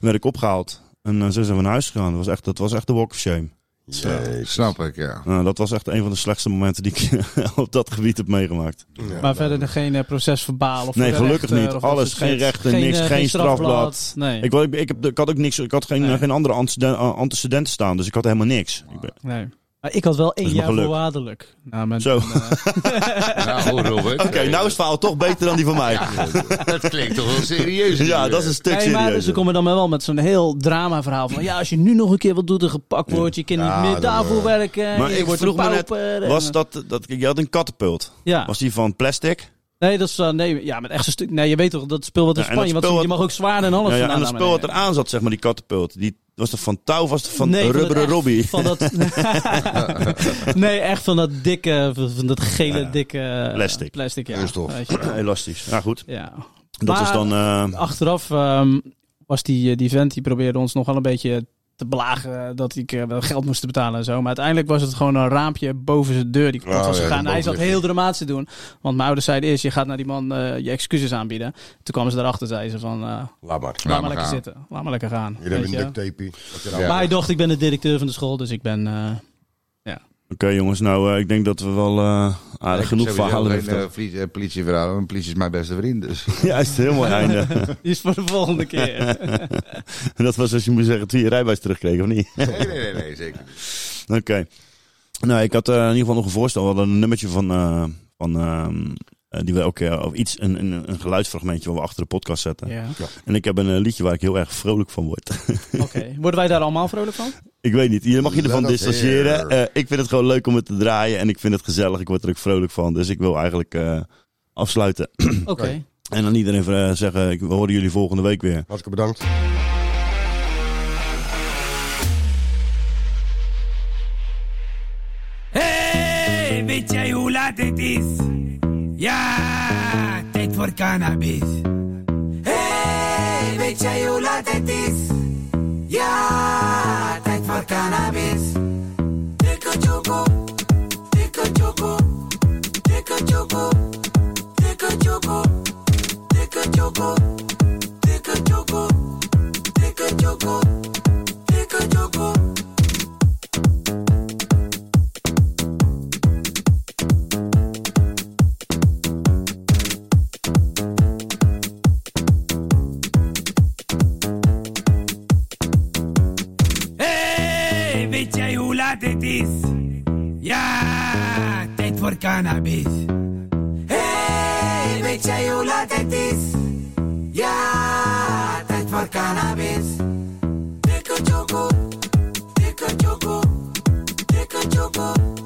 Speaker 3: werd ik opgehaald. En eh, zo zijn we naar huis gegaan. Dat was echt, dat was echt de walk of shame.
Speaker 1: Jezus.
Speaker 5: Snap ik, ja.
Speaker 3: Nou, dat was echt een van de slechtste momenten die ik op dat gebied heb meegemaakt.
Speaker 2: maar verder geen eh, proces verbaal of
Speaker 3: Nee,
Speaker 2: rechter,
Speaker 3: gelukkig niet.
Speaker 2: of dat
Speaker 3: Alles,
Speaker 2: soort shit.
Speaker 3: geen rechten, niks,
Speaker 2: eh,
Speaker 3: geen strafblad.
Speaker 2: Nee,
Speaker 3: Ik, wa- ik, ik, heb, ik had ook niks, ik had geen,
Speaker 2: Nee.
Speaker 3: eh, geen andere anteceden- eh, antecedenten staan, dus ik had helemaal niks. Ik ben-
Speaker 2: nee. Maar ik had wel één
Speaker 3: is maar
Speaker 2: jaar
Speaker 3: geluk.
Speaker 2: voorwaardelijk. Nou, met,
Speaker 3: Zo.
Speaker 2: eh,
Speaker 5: Nou, Robert.
Speaker 3: Oké, nou is het verhaal toch beter dan die van mij. Ja,
Speaker 5: Dat klinkt toch wel serieus. eh,
Speaker 3: dat is een stuk
Speaker 2: nee, maar
Speaker 3: serieuzer.
Speaker 2: dus ze komen dan wel met zo'n heel drama verhaal van... Ja, als je nu nog een keer wat doet en gepakt wordt, je kan
Speaker 1: Ja,
Speaker 2: niet meer
Speaker 1: dan,
Speaker 2: daarvoor
Speaker 1: eh,
Speaker 2: werken.
Speaker 3: maar
Speaker 2: je
Speaker 3: ik
Speaker 2: wordt
Speaker 3: vroeg me
Speaker 2: een
Speaker 3: net,
Speaker 2: pauper en,
Speaker 3: Was
Speaker 2: eh,
Speaker 3: dat, dat, je had een katapult.
Speaker 2: Ja,
Speaker 3: Was die van plastic?
Speaker 2: nee, dat is... eh, nee, ja, met echt een stuk... Nee, je weet toch, dat spul wat in
Speaker 3: Ja, en dat
Speaker 2: Spanje... Want
Speaker 3: spul
Speaker 2: je
Speaker 3: wat-
Speaker 2: mag ook zwaarder en alles
Speaker 3: Ja, ja,
Speaker 2: vandaan eh,
Speaker 3: en het
Speaker 2: naar
Speaker 3: spul wat
Speaker 2: beneden.
Speaker 3: eraan zat, zeg maar, die katapult. Die was er van touw, was er van
Speaker 2: Nee,
Speaker 3: rubberen
Speaker 2: echt-
Speaker 3: Robbie.
Speaker 2: Van dat, nee, echt van dat dikke, van dat gele,
Speaker 3: Ja.
Speaker 2: dikke... eh,
Speaker 3: Plastic.
Speaker 2: Plastic, ja.
Speaker 1: Kunststof.
Speaker 2: Weet je wel.
Speaker 3: Elastisch. Ja, goed.
Speaker 2: Ja.
Speaker 3: Dat
Speaker 2: Maar-
Speaker 3: was dan... eh,
Speaker 2: Achteraf ehm, was die, eh, die vent, die probeerde ons nog wel een beetje te belagen dat ik eh, wel geld moest betalen en zo. Maar uiteindelijk was het gewoon een raampje boven zijn deur die kapot
Speaker 5: Oh,
Speaker 2: was
Speaker 5: ja,
Speaker 2: gegaan.
Speaker 5: de
Speaker 2: hij zat
Speaker 5: bovenlichting.
Speaker 2: heel dramatisch te doen. Want mijn ouders zeiden eerst, je gaat naar die man eh, je excuses aanbieden. Toen kwamen ze erachter, zeiden ze van, eh, laat
Speaker 1: Laat maar.
Speaker 5: maar
Speaker 2: maar lekker
Speaker 5: gaan.
Speaker 2: zitten. Laat maar lekker gaan.
Speaker 1: Hier hebben
Speaker 2: Weet
Speaker 1: we
Speaker 2: je.
Speaker 1: een duct tape.
Speaker 5: Ja.
Speaker 1: Ja.
Speaker 2: Maar hij dacht, ik ben de directeur van de school, dus ik ben... eh,
Speaker 3: Oké jongens, nou eh, ik denk dat we wel eh, aardig genoeg
Speaker 5: Sowieso
Speaker 3: verhalen
Speaker 5: geen,
Speaker 3: hebben. verteld.
Speaker 5: eh, politie- eh, politieverhalen, want politie is mijn beste vriend. Dus.
Speaker 3: Juist, heel mooi einde.
Speaker 2: die is voor de volgende keer.
Speaker 3: En dat was als je moet zeggen toen je rijbewijs terugkreeg, of niet?
Speaker 5: Nee, nee, nee, nee, zeker niet.
Speaker 3: Oké. Nou, ik had eh, in ieder geval nog een voorstel. We hadden een nummertje van, eh, van ehm, eh, die we ook, eh, of iets, een, een, een geluidsfragmentje wat we achter de podcast zetten.
Speaker 2: ja.
Speaker 3: En ik heb een eh, liedje waar ik heel erg vrolijk van word.
Speaker 2: Oké, worden wij daar allemaal vrolijk van?
Speaker 3: Ik weet niet, je mag je ervan
Speaker 1: Let us
Speaker 3: distancieren.
Speaker 1: hear.
Speaker 3: Eh, ik vind het gewoon leuk om het te draaien en ik vind het gezellig. Ik word er ook vrolijk van, dus ik wil eigenlijk eh, afsluiten.
Speaker 2: Oké.
Speaker 3: En dan iedereen eh, zeggen, ik, we horen jullie volgende week weer.
Speaker 1: Hartstikke bedankt.
Speaker 7: Hey, weet jij hoe laat het is? Ja, tijd voor cannabis. Hey, weet jij hoe laat het is? Ja, tijd voor cannabis. Tikka choco, tikka choco, tikka choco, tikka choco, tikka choco, tikka choco, tikka choco, tikka choco. Hey, weet jij hoe laat het is? Ja, tijd voor cannabis. Hey, weet jij hoe laat het is? Ja, tijd voor cannabis. Dikke choco, dikke choco, dikke choco,